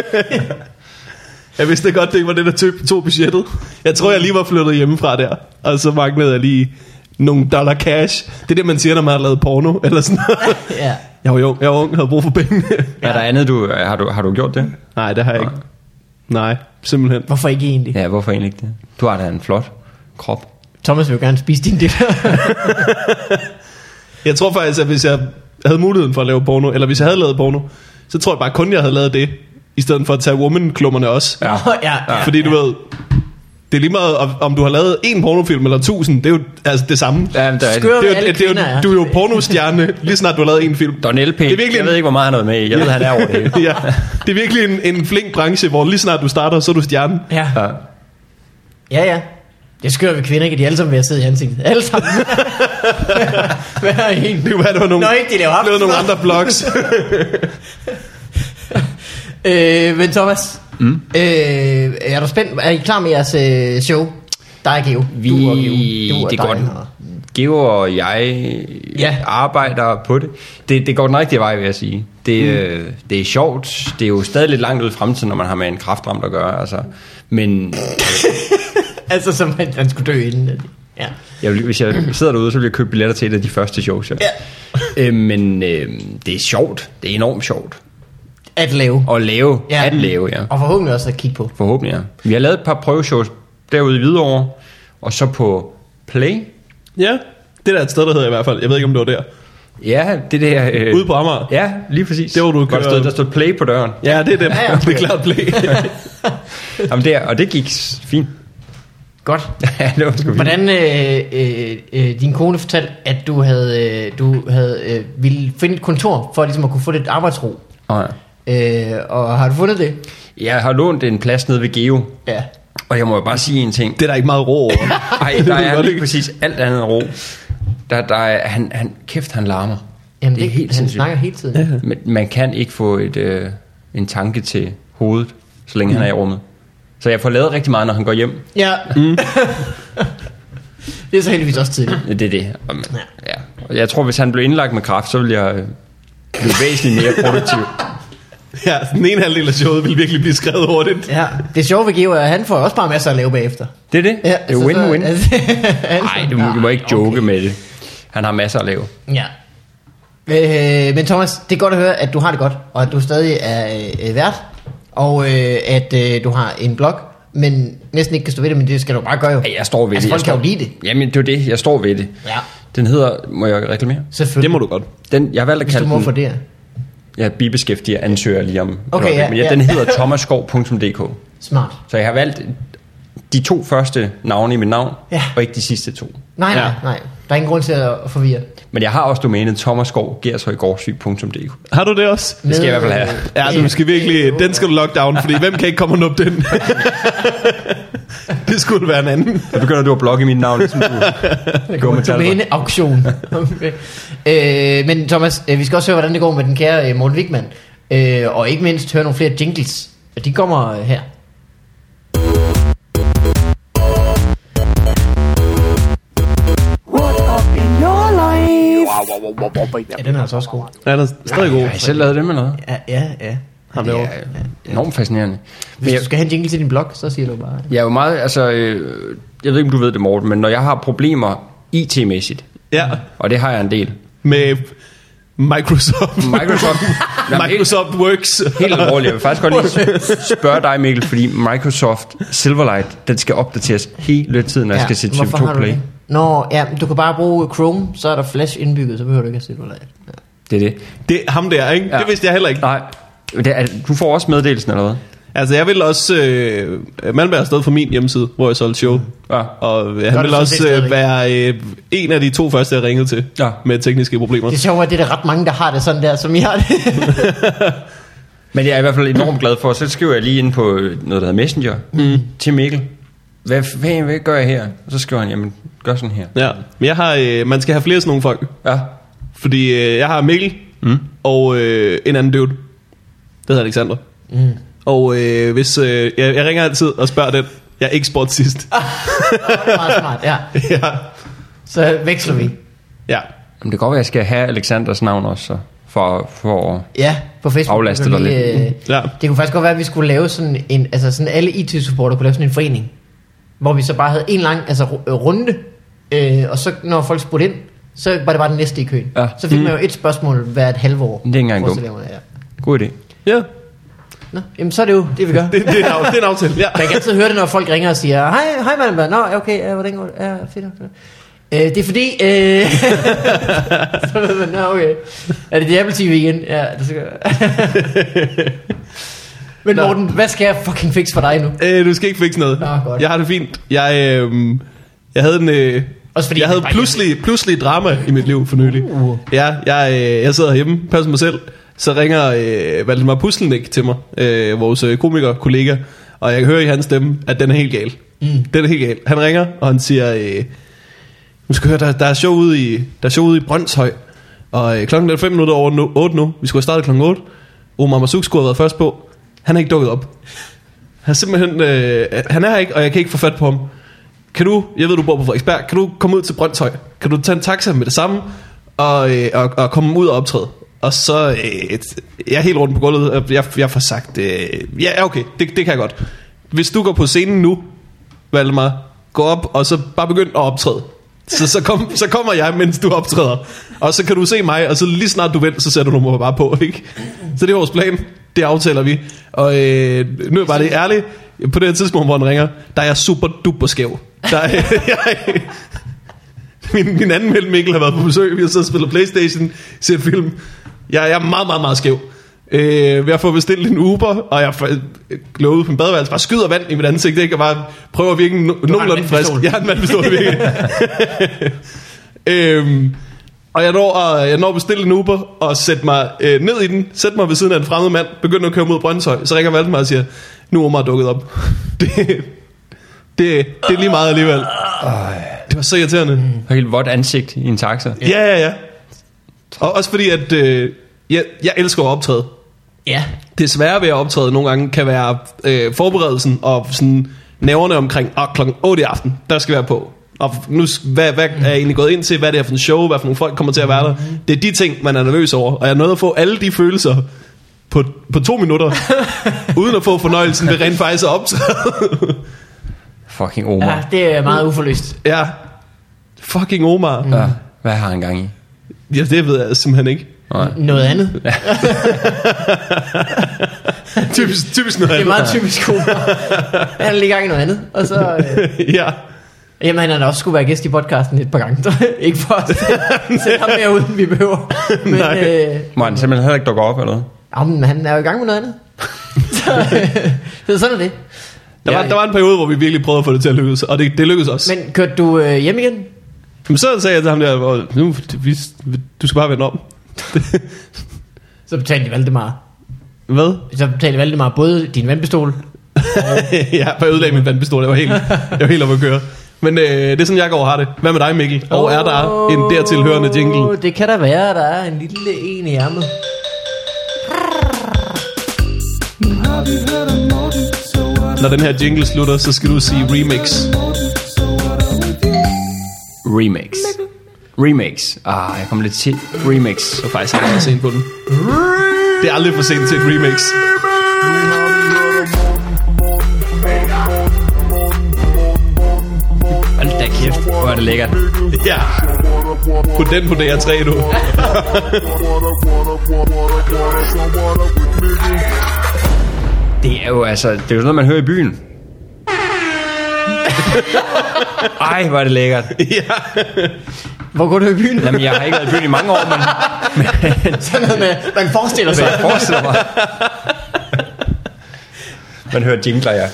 Speaker 3: jeg vidste da godt, det ikke var det, der tog, tog budgettet. Jeg tror, jeg lige var flyttet hjemmefra der, og så manglede jeg lige nogle dollar cash. Det er det, man siger, når man har lavet porno, eller sådan noget.
Speaker 2: Ja.
Speaker 3: Jeg var jo jeg var ung, havde brug for penge.
Speaker 1: Er der andet, du har, du... har du gjort det?
Speaker 3: Nej, det har jeg ikke. Nej, simpelthen.
Speaker 2: Hvorfor ikke egentlig? Ja.
Speaker 1: Ja, hvorfor egentlig ikke det? Du har da en flot krop.
Speaker 2: Thomas vil jo gerne spise din del.
Speaker 3: Jeg tror faktisk, at hvis jeg havde muligheden for at lave porno, eller hvis jeg havde lavet porno, så tror jeg bare kun, jeg havde lavet det, i stedet for at tage woman-klummerne også.
Speaker 1: Ja.
Speaker 2: ja, ja.
Speaker 3: Fordi du ved, det er lige meget, om- om du har lavet en pornofilm eller tusind, det er jo altså det samme.
Speaker 1: Ja, men der er
Speaker 2: Skør
Speaker 1: Skør.
Speaker 3: Det er,
Speaker 2: alle
Speaker 3: jo, det
Speaker 2: kvinder
Speaker 3: er
Speaker 2: er.
Speaker 3: jo, du er jo pornostjerne, lige snart du har lavet en film.
Speaker 1: Don LP.
Speaker 3: Det er virkelig
Speaker 1: Jeg ved ikke, hvor meget han er med i. Jeg ved, han er over det. hele.
Speaker 3: Ja, det er virkelig en, en flink branche, hvor lige snart du starter, så er du stjerne.
Speaker 2: Ja.
Speaker 1: Ja.
Speaker 2: ja, ja. Det skører vi kvinder ikke, at de alle sammen vil have siddet i ansigtet. Alle sammen. Hver en.
Speaker 3: Det kunne være, det var nogle,
Speaker 2: Nå, ikke de laver
Speaker 3: det var nogle
Speaker 2: aftensmad.
Speaker 3: andre blogs.
Speaker 2: Øh, men Thomas, mm. øh, er du spændt? Er I klar med jeres øh, show? Der er Geo.
Speaker 1: Vi,
Speaker 2: du og Geo. Du og
Speaker 1: det
Speaker 2: dig
Speaker 1: går den.
Speaker 2: og-
Speaker 1: Geo og jeg
Speaker 2: Ja.
Speaker 1: ja. arbejder på det. det. Det går den rigtige vej, vil jeg sige. Det, mm. øh, det er sjovt. Det er jo stadig lidt langt ud i fremtiden, når man har med en kraftramt at gøre. Altså. Men
Speaker 2: Altså, som han, han skulle dø inden. at- Ja.
Speaker 1: jeg vil, hvis jeg sidder derude, så vil jeg købe billetter til et af de første shows. Jeg.
Speaker 2: Ja.
Speaker 1: Øh, men øh, det er sjovt. Det er enormt sjovt.
Speaker 2: At lave.
Speaker 1: At lave. Ja. At lave, ja.
Speaker 2: Og forhåbentlig også at kigge på.
Speaker 1: Forhåbentlig, ja. Vi har lavet et par prøveshows derude i Hvidovre, og så på Play.
Speaker 3: ja, det der er et sted, der hedder i hvert fald. Jeg ved ikke, om det var der.
Speaker 1: Ja, det der... Øh,
Speaker 3: Ude på Amager.
Speaker 1: Ja, lige præcis.
Speaker 3: Det var, du
Speaker 1: Godt
Speaker 3: kører-
Speaker 1: stod, der stod Play på døren.
Speaker 3: Ja, det er det.
Speaker 2: Ja, ja, okay.
Speaker 3: Det er klart play.
Speaker 1: Jamen der, og det gik s- fint.
Speaker 2: Godt.
Speaker 1: ja, det var sgu fint.
Speaker 2: Hvordan øh, øh, øh, din kone fortalte, at du havde, øh, du havde øh, ville finde et kontor for ligesom at kunne få lidt arbejdsro.
Speaker 1: Og, ja.
Speaker 2: Øh, og har du fundet det?
Speaker 1: jeg har lånt en plads nede ved Geo,
Speaker 2: Ja.
Speaker 1: og jeg må jo bare sige en ting.
Speaker 3: Det er der ikke meget ro over.
Speaker 1: Nej,
Speaker 3: Det
Speaker 1: der
Speaker 3: ved jeg
Speaker 1: er
Speaker 3: godt
Speaker 1: lige
Speaker 3: ikke.
Speaker 1: præcis alt andet end ro. Der, der er, han, han, kæft, han larmer.
Speaker 2: Jamen,
Speaker 1: det er helt
Speaker 2: han
Speaker 1: sindssygt.
Speaker 2: snakker hele tiden.
Speaker 1: Men man kan ikke få et, øh, en tanke til hovedet, så længe mm. han er i rummet. Så jeg får lavet rigtig meget, når han går hjem.
Speaker 2: Ja. Mm. det er så heldigvis også tidligt.
Speaker 1: Ja, Det er det. Og, man- ja. Og jeg tror, hvis han blev indlagt med kræft, så ville jeg øh, blive væsentligt mere produktiv.
Speaker 3: Ja, den ene halvdel af showet vil virkelig blive skrevet hurtigt.
Speaker 2: Ja. Det sjove ved Geo er, at han får også bare masser at lave bagefter.
Speaker 1: Det er det.
Speaker 2: Ja,
Speaker 1: det er
Speaker 2: så- så-
Speaker 1: win-win.
Speaker 2: altså,
Speaker 1: Nej, du, må- du må ikke joke okay. med det. Han har masser at lave.
Speaker 2: Ja. Øh, men Thomas, det er godt at høre, at du har det godt, og at du stadig er øh, vært, og øh, at øh, du har en blog, men næsten ikke kan stå ved det, men det skal du bare gøre jo.
Speaker 1: Ja, Jeg står ved
Speaker 2: Altså,
Speaker 1: det.
Speaker 2: folk
Speaker 1: jeg
Speaker 2: kan
Speaker 1: står...
Speaker 2: jo lide det.
Speaker 1: Jamen, det er jo det. Jeg står ved det.
Speaker 2: Ja.
Speaker 1: Den hedder... Må jeg reklamere?
Speaker 2: Selvfølgelig.
Speaker 3: Det må du godt.
Speaker 1: Den, jeg har valgt at
Speaker 2: Hvis du
Speaker 1: kalde
Speaker 2: må
Speaker 1: den...
Speaker 2: for det.
Speaker 1: Jeg bibeskæftiger ansøger lige om... et
Speaker 2: Okay,
Speaker 1: øjeblik,
Speaker 2: ja,
Speaker 1: men jeg,
Speaker 2: ja.
Speaker 1: den hedder thomaskov.dk.
Speaker 2: Smart.
Speaker 1: Så jeg har valgt de to første navne i mit navn,
Speaker 2: Ja.
Speaker 1: og ikke de sidste to.
Speaker 2: Nej, nej,
Speaker 3: Ja.
Speaker 2: nej. Der er ingen grund til at forvirre.
Speaker 1: Men jeg har også domænet thomaskov.gershøjgårdsvig.dk.
Speaker 3: Har du det også?
Speaker 1: Det skal jeg i hvert fald have.
Speaker 2: øh,
Speaker 3: Ja, du skal virkelig, den skal du lockdown, fordi hvem kan ikke komme og nuppe den? det skulle være en anden.
Speaker 1: Så begynder du at blogge mit navn, ligesom du... Gå med talber.
Speaker 2: Domæne auktion. okay. øh, men Thomas, øh, vi skal også høre, hvordan det går med den kære øh, Morten Wigman. Øh, og ikke mindst høre nogle flere jingles. Og De kommer øh, her.
Speaker 4: What up in your life?
Speaker 2: Ja, den er altså også god.
Speaker 3: Ja, den er stadig god.
Speaker 1: Har I selv lavet det med noget?
Speaker 2: Ja, ja, ja.
Speaker 3: Ham
Speaker 1: Det
Speaker 3: derovre.
Speaker 1: er enormt fascinerende.
Speaker 2: Hvis du skal have en jingle til din blog, så siger du bare...
Speaker 1: Jeg er jo meget, altså, øh, jeg ved ikke, om du ved det, Morten, men når jeg har problemer IT-mæssigt,
Speaker 3: Ja,
Speaker 1: og det har jeg en del.
Speaker 3: med Microsoft.
Speaker 1: Microsoft, Jamen, helt,
Speaker 3: Microsoft Works.
Speaker 1: helt alvorligt, jeg vil faktisk godt lige spørge dig, Mikkel, fordi Microsoft Silverlight, den skal opdateres hele tiden, når jeg skal se
Speaker 2: hvorfor har
Speaker 1: TV2
Speaker 2: du
Speaker 1: Play.
Speaker 2: det? Nå, ja, men du kan bare bruge øh, Chrome, så er der Flash indbygget, så behøver du ikke at se det ja.
Speaker 1: Det er det.
Speaker 3: Det er ham der, ikke? Ja.
Speaker 1: Ja.
Speaker 3: Det vidste jeg heller ikke.
Speaker 1: Nej, det er, du får også meddelelsen, eller hvad?
Speaker 3: Altså, jeg ville også... Øh, Malmberg er stadig for min hjemmeside, hvor jeg solgte show.
Speaker 1: Ja.
Speaker 3: Og øh,
Speaker 2: Gør
Speaker 3: han
Speaker 2: du
Speaker 3: ville
Speaker 2: sådan set
Speaker 3: også øh,
Speaker 2: stadigvæk?
Speaker 3: være øh, en af de to første, jeg ringede til
Speaker 1: Ja.
Speaker 3: med tekniske problemer.
Speaker 2: Det sjove er, at det er der ret mange, der har det sådan der, som I har det.
Speaker 1: Men jeg er i hvert fald enormt glad for, så skriver jeg lige ind på øh, noget, der hedder Messenger, mm. til Mikkel. Hvad, hvad, hvad gør jeg her? Og så skriver han, jamen, gør sådan her.
Speaker 3: Ja, men jeg har, øh, man skal have flere sådan nogle folk.
Speaker 1: Ja,
Speaker 3: Fordi øh, jeg har Mikkel mm. og øh, en anden dude. Det hedder Alexander. Mm. Og øh, hvis, øh, jeg, jeg ringer altid og spørger den. Jeg er ikke sport sidst.
Speaker 2: Meget smart, ja.
Speaker 3: ja.
Speaker 2: Så veksler vi.
Speaker 3: ja.
Speaker 1: Jamen, det kan godt være, at jeg skal have Alexanders navn også, så, for, for
Speaker 2: Ja, på Facebook.
Speaker 1: Aflaste
Speaker 2: Du kan
Speaker 1: dig
Speaker 2: lige,
Speaker 1: lidt.
Speaker 2: øh,
Speaker 3: Ja.
Speaker 2: Det kunne faktisk godt være, at vi skulle lave sådan en, altså sådan alle IT-supporter kunne lave sådan en forening, hvor vi så bare havde en lang altså, ru- øh, runde, øh, og så når folk spurgte ind, så var det bare den næste i køen.
Speaker 1: Ja.
Speaker 2: Så fik man jo et spørgsmål hvert halve år.
Speaker 1: Det er ikke engang dumt.
Speaker 2: Forestiller jeg mig, Ja.
Speaker 1: god idé.
Speaker 3: ja.
Speaker 2: Nå, jamen så er det jo det, vi gør.
Speaker 3: Det, det, er en, af- det er en aftale. Ja.
Speaker 2: Man kan altid høre det, når folk ringer og siger, hej, hej Malmberg, nå, ja, okay, ja, hvordan går det? Ja, fedt. fedt. Øh, det er fordi, øh... så ved man, nå, okay. Er det Apple TV igen? Ja, det skal Men
Speaker 3: Nå.
Speaker 2: Morten, hvad skal jeg fucking fikse for dig nu?
Speaker 3: Øh, du skal ikke fikse noget.
Speaker 2: Nå, godt.
Speaker 3: Jeg har det fint. Jeg, øh, jeg havde en... Øh,
Speaker 2: Også fordi
Speaker 3: jeg
Speaker 2: det
Speaker 3: havde
Speaker 2: var
Speaker 3: pludselig, pludselig drama i mit liv for nylig.
Speaker 2: Uh.
Speaker 3: Ja, jeg, øh, jeg sidder hjemme, passer mig selv. Så ringer øh, Valdemar Puslenik til mig, øh, vores øh, komiker, kollega. Og jeg kan høre i hans stemme, at den er helt gal. Mm. Den er helt gal. Han ringer, og han siger... Øh, Nu skal vi høre, der, der er show ude i, der er show ude i Brøndshøj. Og øh, klokken er 5 minutter over nu, 8 nu. Vi skulle have startet klokken 8. Omar Masuk skulle have været først på. Han er ikke dukket op. Han er simpelthen, øh, han er her ikke, og jeg kan ikke få fat på ham. Kan du, jeg ved du bor på Frederiksberg, kan du komme ud til Brøndshøj? Kan du tage en taxa med det samme, og, øh, og, og komme ud og optræde? Og så, øh, et- jeg er helt rundt på gulvet, og jeg, jeg får sagt, øh, ja okay, det, det kan jeg godt. Hvis du går på scenen nu, Valdemar, gå op og så bare begynd at optræde. Så, så, kom, så kommer jeg, mens du optræder. Og så kan du se mig, og så lige snart du vil, så sætter du mig bare på, ikke? Så det er vores plan. Det aftaler vi. Og øh, nu er jeg bare det ærligt. På det her tidspunkt, hvor han ringer, der er jeg super duper skæv. Der er, jeg, min, min anden ven Mikkel har været på besøg. Vi har siddet og spillet Playstation, set film. Jeg, jeg er meget, meget, meget skæv. Øh, jeg får bestilt en Uber, og jeg får løbet ud på en badeværelse, bare skyder vand i mit ansigt, ikke? og bare prøver at virke no- nogenlunde frisk.
Speaker 2: vandpistol.
Speaker 3: Jeg har en vandpistol, virkelig. øhm, og jeg når, at, jeg når at bestille en Uber og sætte mig øh, ned i den, sætte mig ved siden af en fremmed mand, begynder at køre mod Brøndshøj. Så ringer Valdemar og siger, nu er Omar dukket op. det, det, det er lige meget alligevel. Det var så irriterende.
Speaker 1: Og helt vådt ansigt i en taxa.
Speaker 3: Ja, ja, ja. Og også fordi, at øh, jeg, jeg elsker at optræde.
Speaker 2: Ja.
Speaker 3: Det svære ved at optræde nogle gange kan være øh, forberedelsen og sådan næverne omkring, og klokken 8 i aften, der skal være på. Og nu, s- hvad, hvad er jeg egentlig gået ind til? Hvad er det her for en show? Hvad for nogle folk kommer til at være der?
Speaker 2: Mm-hmm.
Speaker 3: Det er de ting, man er nervøs over. Og jeg nåede at få alle de følelser på, på to minutter, uden at få fornøjelsen ved rent faktisk at optræde.
Speaker 1: Fucking Omar.
Speaker 2: ja, det er meget uforløst.
Speaker 3: ja. Fucking Omar.
Speaker 1: Ja. Hvad har han gang i?
Speaker 2: Mm.
Speaker 3: Ja, det ved jeg simpelthen ikke.
Speaker 1: Nej.
Speaker 2: Noget andet.
Speaker 3: Typisk, typisk noget
Speaker 2: Det er
Speaker 3: andet.
Speaker 2: meget typisk Omar. Han er lige i gang i noget andet. Og så, øh,
Speaker 3: Ja.
Speaker 2: jamen, han har da også skulle være gæst i podcasten et par gange. ikke for at sætte ham mere ud, end vi behøver. Men,
Speaker 3: Nej.
Speaker 2: øh,
Speaker 1: Må han simpelthen heller ikke dukke op, eller hvad?
Speaker 2: jamen, han er jo i gang med noget andet. så, øh, så sådan er det.
Speaker 3: Der,
Speaker 1: Ja,
Speaker 3: var, der var en periode, hvor vi virkelig prøvede at få det til at lykkes, og det, det lykkedes også. Men,
Speaker 2: Men kørte du øh, hjem igen?
Speaker 3: Men så sagde jeg til ham der, "Hvor- nu, vi, du skal bare vende om.
Speaker 2: Så betalte Valdemar.
Speaker 3: Hvad?
Speaker 2: Så betalte Valdemar både din vandpistol.
Speaker 3: ja, for jeg ødelagde min vandpistol, jeg var helt, jeg var helt oppe at køre. Men øh, det er sådan, jeg går og har det. Hvad med dig, Mikkel? Og er der en dertil hørende jingle?
Speaker 2: Det kan da være, at der er en lille en i ærmet.
Speaker 3: Når den her jingle slutter, så skal du sige remix.
Speaker 1: Remix. Remix. Ah, jeg kom lidt til. Remix.
Speaker 3: Så faktisk er jeg sent på den. Det er aldrig for sent til et remix.
Speaker 1: Hold da kæft, hvor er det lækkert.
Speaker 3: Ja. På den på DR3, du.
Speaker 1: Det er jo altså, det er jo sådan noget, man hører i byen. Ej, hvor er det lækkert.
Speaker 2: Hvor går du i byen?
Speaker 1: Jamen, jeg har ikke været i byen i mange år, men, men
Speaker 2: Sådan noget med, man forestiller
Speaker 1: hvad
Speaker 2: sig.
Speaker 1: jeg forestiller mig. Man hører jingler, ja.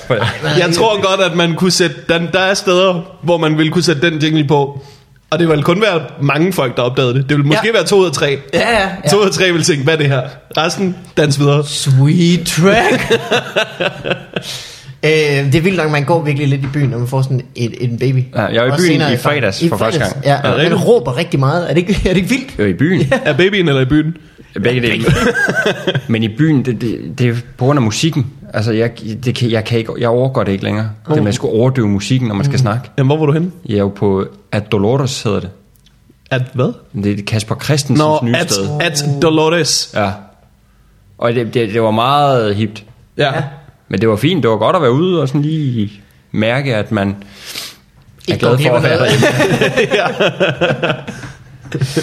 Speaker 3: Jeg tror godt, at man kunne sætte... Der, der er steder, hvor man ville kunne sætte den jingle på. Og det ville kun være mange folk, der opdagede det. Det ville måske
Speaker 2: Ja.
Speaker 3: ja. være to ud af tre. Ja.
Speaker 2: Ja, ja.
Speaker 3: To ud af tre ville tænke, hvad er det her? Resten, dans videre.
Speaker 2: Sweet track. øh, det er vildt nok, man går virkelig lidt i byen, når man får sådan en, en baby.
Speaker 1: Ja, jeg var i
Speaker 2: Også
Speaker 1: byen
Speaker 2: senere
Speaker 1: i fredags for første gang.
Speaker 2: Ja,
Speaker 1: Er
Speaker 2: og
Speaker 1: det
Speaker 2: man
Speaker 3: rigtigt?
Speaker 2: råber rigtig meget. Er det ikke, er det ikke vildt?
Speaker 1: Jo, i byen.
Speaker 3: Er babyen eller i byen?
Speaker 1: Begge dele. Men i byen, det, det, det er på grund af musikken. Altså, jeg, det kan, jeg, kan ikke, jeg overgår det ikke længere. Det med at skulle overdøve musikken, når man skal snakke.
Speaker 3: Jamen, hvor var du henne?
Speaker 1: Jeg er jo på At Dolores, hedder det.
Speaker 3: At hvad?
Speaker 1: Det er Kasper Christensens
Speaker 3: Nå,
Speaker 1: nye
Speaker 3: at,
Speaker 1: sted.
Speaker 3: at Dolores.
Speaker 1: Ja. Og det, det, det var meget hipt.
Speaker 3: Ja. ja.
Speaker 1: Men det var fint. Det var godt at være ude og sådan lige mærke, at man er
Speaker 2: Ikke går
Speaker 1: glad
Speaker 2: glip
Speaker 1: for
Speaker 2: af
Speaker 1: at være
Speaker 2: noget.
Speaker 1: derhjemme.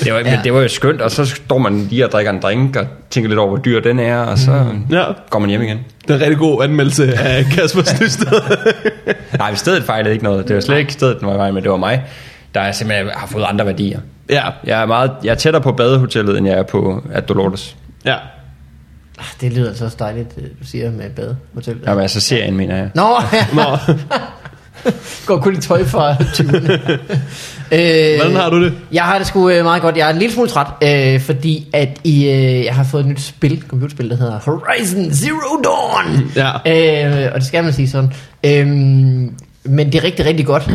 Speaker 1: det, var, men det var jo skønt, og så står man lige og drikker en drink og tænker lidt over, hvor dyr den er, og så
Speaker 3: Ja,
Speaker 1: går man hjem igen.
Speaker 3: det er en rigtig god anmeldelse af Kaspers Nysted.
Speaker 1: Nej, men stedet fejlede ikke noget. Det var slet ikke stedet, den var i vejen med. Det var mig, der er simpelthen har fået andre værdier.
Speaker 3: ja,
Speaker 1: Jeg er, meget, jeg er tættere på badehotellet, end jeg er på at Dolores.
Speaker 3: ja.
Speaker 2: Ah, Det lyder altså også dejligt, øh, du siger med badehotel.
Speaker 1: Jamen altså serien, mener jeg.
Speaker 2: Nå,
Speaker 3: Nå,
Speaker 2: går kun i tøj fra 20'erne. øh,
Speaker 3: hvordan har du det?
Speaker 2: Jeg har det sgu øh, meget godt. Jeg er en lille smule træt, øh, fordi at I, øh, jeg har fået et nyt spil, computerspil, der hedder Horizon Zero Dawn.
Speaker 3: Ja.
Speaker 2: Øhm, Øh, og det skal man sige sådan. Øh, men det er rigtig, rigtig godt.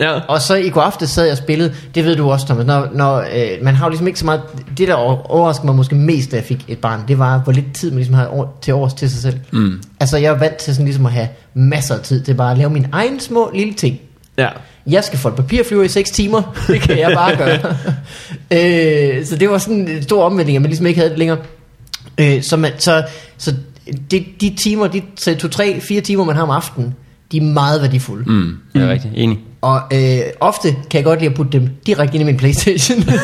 Speaker 3: Ja.
Speaker 2: Og så i går aftes sad jeg og spillede, det ved du også, Thomas, når, når øh, man har jo ligesom ikke så meget, det der over- overraskede mig måske mest, da jeg fik et barn, det var, hvor lidt tid man ligesom havde over, til års til sig selv. Mm. Altså jeg er vant til sådan ligesom at have masser af tid til bare at lave mine egne små lille ting.
Speaker 3: Ja.
Speaker 2: Jeg skal folde papirflyver i 6 timer. Det kan jeg bare gøre. øh, så det var sådan en stor omvending, at man ligesom ikke havde det længere. Øh, så, man, så, så det, de timer, de 2-3-4 timer, man har om aftenen, de er meget værdifulde. Mm.
Speaker 1: Mm, det er rigtigt. Enig.
Speaker 2: Og øh, ofte kan jeg godt lide at putte dem direkte ind i min Playstation. det